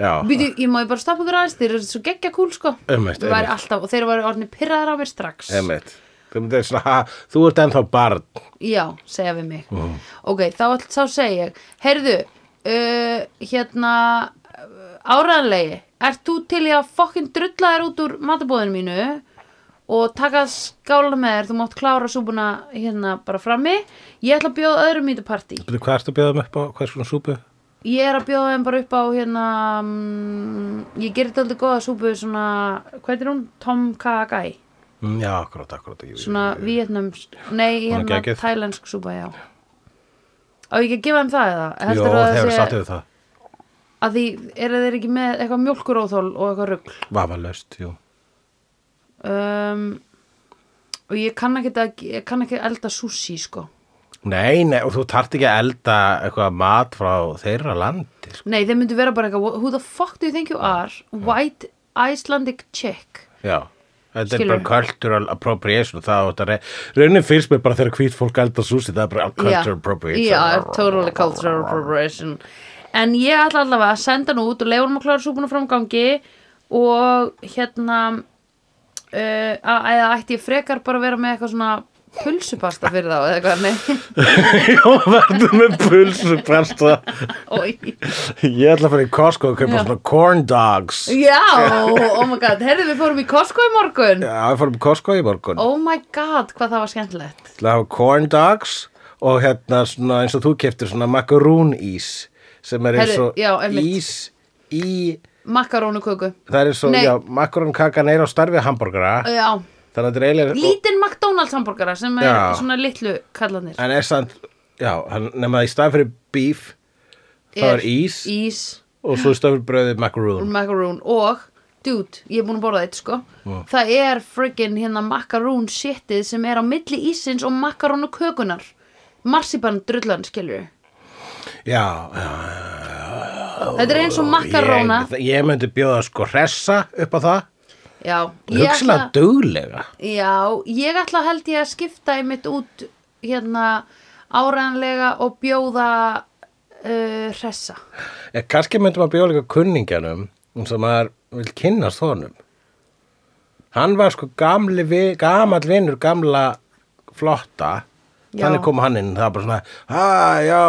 já, Býtu, ég má ég bara stoppa ykkur aðeins, þeir eru svo geggja cool sko Einmitt, Ég væri einmitt. alltaf, og þeir væri orðinni pyrraðar á mér strax emitt þú myndir svona, ha, þú ert ennþá barn Já, segja við mig Mhm. Ok, þá, all- þá segja ég Heyrðu, uh, hérna uh, áræðanlegi Ert þú til í að fokkin drulla þér út úr matabóðinu mínu og taka skála með þér, þú mátt klára súbuna hérna bara frammi Ég ætla að bjóða öðrum í þetta partí Bíddu, hvað ertu að bjóða mig upp á, hvað er svona súpu? Ég er að bjóða þeim bara upp á hérna mm, Ég gerir þetta aldrei góða súpu svona, hvað er hún? Tom Kha Gai Mm, já, akkurat, akkurat jú, jú, Svona jú, jú. vietnams, nei Hún er hérna geggjuð. Thailensk súpa, já Á ég ekki að gefa þeim það eða? Jó, Heldurðu þeir það eru sé- satt yfir það Að því, eru þeir ekki með eitthvað mjólkuróþól og eitthvað rugl? Vafalaust, jú um, og ég kann ekki að, ég kann ekki að elda sushi sko Nei, nei, og þú tart ekki að elda eitthvað mat frá þeirra landi sko. nei þeir myndu vera bara eitthvað who the fuck do you think you are Mm. white Icelandic chick Já, þetta Skilur. er bara cultural appropriation það átt að re raunin fyrst mér bara þegar hvít fólk elda súsi það er bara cultural Já. appropriation Já, totally cultural appropriation En ég ætla allavega að senda hann út og leifa hann að klára súpuna framgangi og hérna uh, að- eða ætti ég frekar bara að vera með eitthvað svona pulsupasta fyrir þá eða eitthvað, nei Já, verður með pulsu pasta Oj. Ég ætla að fara í Costco og kaupa Já. svona corn dogs Já, oh my god, herðu við fórum í Costco í morgun Já, við fórum í Costco í morgun Oh my god, hvað það var skemmtilegt til að hafa corn dogs og hérna svona eins og þú keftir svona makarún ís sem er eins Herri, og já, einmitt. ís í Makarónuköku, það er svo, Nei. já, makarún kakan er á starfi hamburgara já þannig að þetta er eiginlega og- Lítinn McDonalds hamburgara sem er Já. svona litlu kallanir en er samt, já, hann, nema að í stað fyrir beef það er ís Ís og svo í stað fyrir bröðið Mm. makarún macaroon og dude, ég er búin að borða þetta sko það er friggin hérna macaroon shitið sem er á milli ísins og macaroon og kökunar marsipan drullan skilur já, já, þetta er eins og makaróna ég, ég myndi bjóða sko hressa upp á það já, ég hugslega ætla, duglega já, ég ætla held ég að skipta einmitt út hérna áræðanlega og bjóða uh, hressa Ég, kannski myndum að bjóða líka kunningjanum sem maður vil kynnast honum. Hann var sko gamli, vi- gamall vinnur, gamla flotta. Já. Þannig kom hann inn, það var bara svona, að já,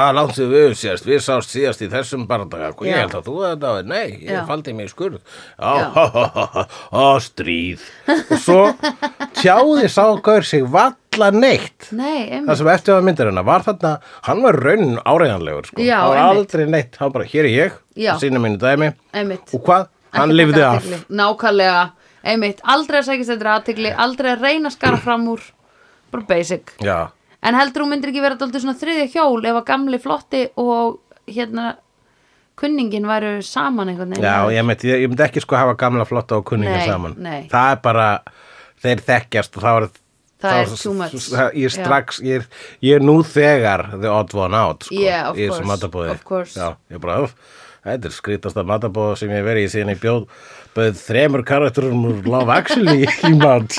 að langt sér við sérst, við sást síðast í þessum barndaga, Sko, ég Já. held að þú þetta var, nei, ég Já. faldi mig í skurð, Já. já, á, stríð. Og svo tjáði sá gaur sig valla neitt nei, það einmitt sem eftir var myndir hennar var þarna hann var raunin áreiðanlegur sko. Já, hann var einmitt. aldrei neitt, hann var bara hér er ég Já. sína mínu dæmi Einmitt. og hvað, hann Ekki lifði taka af athygli. nákvæmlega, einmitt, aldrei að sækist þetta aðtegli, aldrei að reyna að skara fram úr bara basic já, en heldur hún myndir ekki vera dálítið svona þriðja hjól ef að gamli flotti og hérna kunningin væru saman einhvern veginn já ég, myndi, ég, ég myndi ekki sko hafa gamla flotta og kunninga Nei, saman nei. það er bara, þeir þekkjast og það var Það þá- er too much. það- Ég er Já. strax, ég er, ég er nú þegar the odd one out sko, Yeah, of í þessu course, matabóði of course. Já, ég bara, "Úff, þetta er skrítasta matabóð sem ég hef verið í síðan ég bjóð bauð þremur karakterum úr Love Actually í mat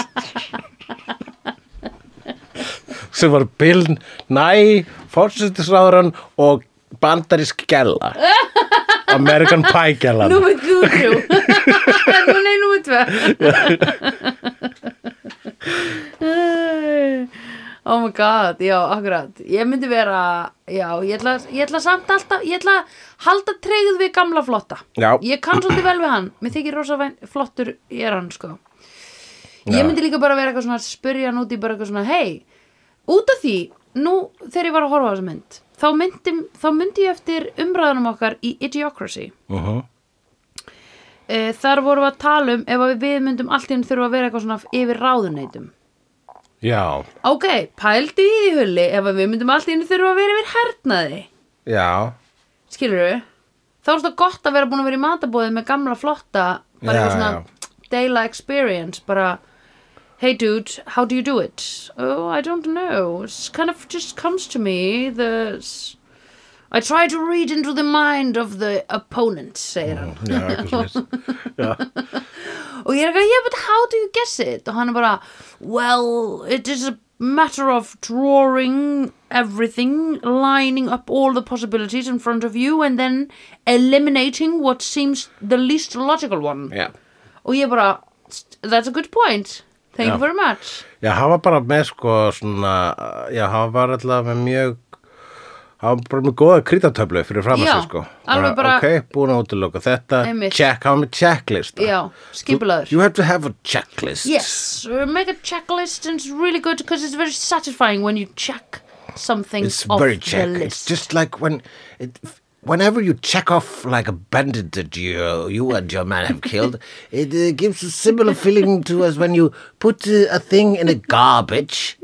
sem var Bill Nye, fórsetisráðurann og bandarísk gæla American Pie gælan Númer þrjú þrjú Nú nei, númer tvö Oh my god, já, akkurat Ég myndi vera, já, ég ætla, ég ætla samt alltaf Ég ætla að halda treyð við gamla flotta Já. Ég kann svolítið vel við hann Mér þykir rosa væn, flottur er hann, sko Ég Já. myndi líka bara vera eitthvað svona að Spyrja hann út í bara eitthvað svona Hei, út af því, nú þegar ég var að horfa á þessa mynd Þá myndi, þá myndi ég eftir umræðanum okkar í Idiocracy uh -huh. e, þar vorum við að tala um ef að við myndum allt í henni þurfa að vera eitthvað svona yfir ráðuneytum Já, ok, pældu í því hulli ef að við myndum allt í henni þurfa að vera yfir hernaði já skilur við þá er þetta gott að vera búin að vera í matabóði með gamla flotta bara Já, eitthvað svona daily experience bara hey dude, how do you do it oh, I don't know it kind of just comes to me the I try to read into the mind of the opponent segir hann Já, eitthvað svoleiðis. og ég er eitthvað, yeah, but how do you guess it? Og hann er bara, well, it is a matter of drawing everything, lining up all the possibilities in front of you and then eliminating what seems the least logical one. Já. Og ég er bara, that's a good point. Thank you Já. very much. Já, hann var bara með sko svona, já, hann var alltaf með mjög, hann var bara með góða krítatöflu fyrir fram að Já, sig sko. alveg bara- Ok, búin að útiloka þetta, Einmitt. check, hann var með checklist. Já, skipulaður. You have to have a checklist. Yes, uh, make a checklist and it's really good because it's very satisfying when you check something It's off very the check. list. It's just like when, it, whenever you check off like a bandit that you, you and your man have killed, it uh, gives a similar feeling to us when you put uh, a thing in a garbage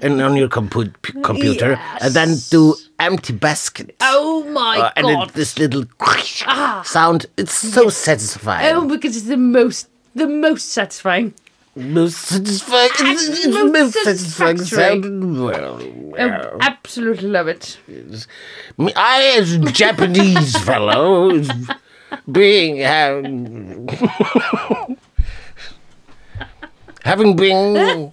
and on your compu- computer and then do empty basket. Oh my Uh, and god. Ah. it, this little sound, it's so satisfying. Oh, because it's the most the most satisfying Most satisfying, It's most most satisfying satisfactory. sound I absolutely love it I, as a Japanese fellow, being having been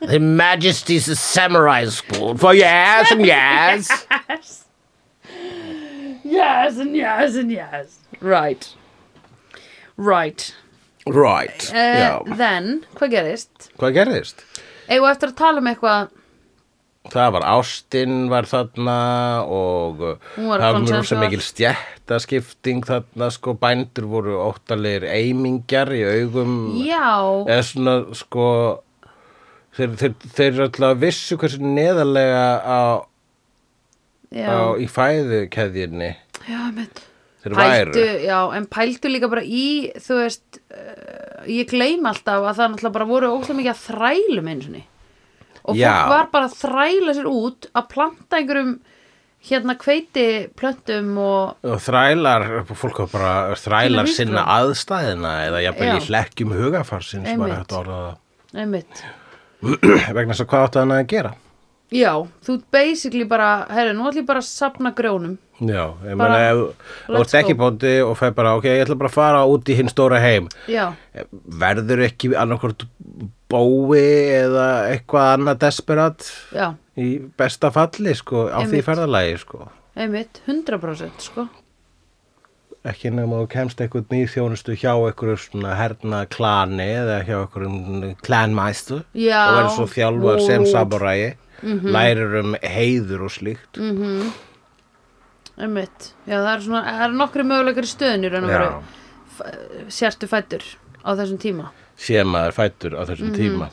Her Majesty's Samurai School for years and years, yes yes and yes and yes right right right? uh, then, hvað gerist? Hvað gerðist? eigum við eftir að tala um eitthvað Það var Ástin var þarna og Hún var það var konsensual. sem mikil stjættaskipting þarna sko bændur voru óttalegir eimingjar í augum já, eða svona sko þeir, þeir, þeir alltaf vissu hversu neðarlega á, á já, í fæðukeðjunni já, mitt þeir pældu, væru já, en pældu líka bara í þú veist uh, ég gleym alltaf að það náttúrulega bara voru óslega mikið að þrælum eins og og Já. fólk var bara að þræla sér út að planta einhverjum hérna hveiti plöntum og og þrælar, fólk var bara þrælar Til að sinna vísbendinga. aðstæðina eða jafnvel í Já. hlekkjum hugafarsins var Einmitt. hægt að orða það einmitt vegna þess að hvað áttu hann að gera já, þú ert basically bara herri, nú ætlum ég bara að safna grjónum Já, ég Bara, meina ef þú let's ert ekki go. bóndi og fæ bara, ok, ég ætla bara að fara út í hinn stóra heim Eh, já, verður ekki annarkvort bói eða eitthvað annað desperat já, í besta falli, sko, á því Einmitt. ferðalagi, sko einmitt 100% sko, ekki nefnum að þú kemst eitthvað nýð þjónustu hjá einhverju svona herna klani eða hjá einhverjum klanmæstu Já, Mhm. og verður svo þjálfað sem vó. samuræi lærir um heiður og slíkt Mm. einmitt já, það eru svona, það eru nokkri möguleikar í stöðin í raun og Já. veru F- sértu fættur á þessum tíma sé maður fættur á Mhm. þessum tíma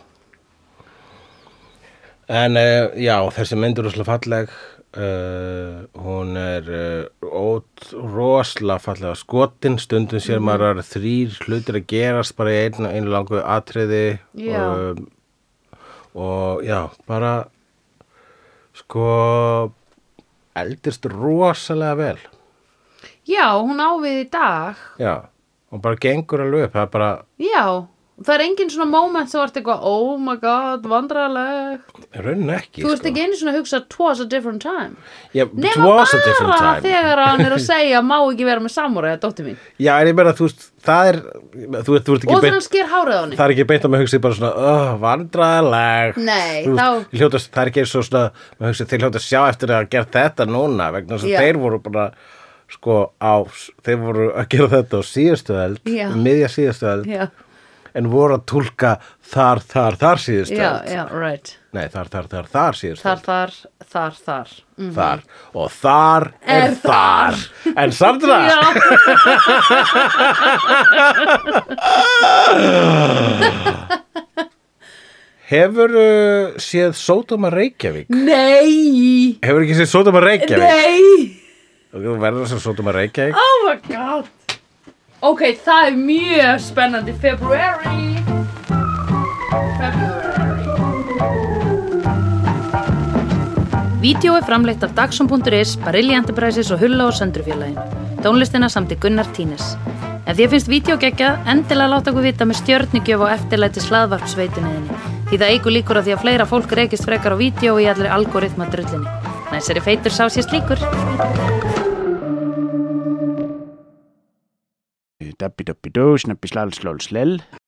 en uh, já, þessi mynd er rosalega falleg uh, hún er uh, ót, rosalega fallega skotin stundum sér Mhm. maður að þrýr hlutir að gerast bara í einu, einu langu atriði Já. Og, og já, bara sko eldist rosalega vel já, hún á við í dag já, og bara gengur alveg upp það er bara já, það er engin svona moment sem vart eitthvað, oh my god, vandrarlegt raun ekki þú veist sko. ekki einu svona að hugsa twas a different time Já, nema twas a different bara time. þegar hann er að segja má ekki vera með samúræða, dóttir mín Já, en ég meina, þú veist, það er, þú veist, þú veist ekki og þegar hann beint, sker hárið á henni það er ekki beint að maður hugsi bara svona, oh, vandræðaleg. Nei, þú, þá- þá. Hljóta, það er ekki eins og svona, maður hugsi, þeir hljóta að sjá eftir að hafa gert þetta núna, vegna þess að Já. þeir voru bara, sko, á, þeir voru að gera þetta á síðustu eld, um Já. miðja síðustu eld, já, en voru að túlka þar, þar, þar síðustu já, eld. já, right Nei, þar, þar, þar, þar síðustu þar, þar, þar, þar mm. Þar. Og þar er, Er þar. þar. En Sandra, já, hefur uh, séð Sódóma Reykjavík? nei Hefur ekki séð Sódóma Reykjavík? nei, Þú verður sem Sódóma Reykjavík oh my god ok, það er mjög spennandi February February Vídeó er framleitt af Dagsum.is, Barilli Enterprises og Hulla og Söndrufjörlægin. Tónlistina samt í Gunnar Tínes. Ef því finnst vídeo geggja, endilega láta okkur vita með stjörnigjöf og eftirlæti slaðvarpsveitunniðinni. Því það eigur líkur að því að fleira fólk reykist frekar á vídeo í allri algoritma drullinni. Næsari feitur sá sér slíkur. Dabbi dabbi dó, snabbi slal slól slell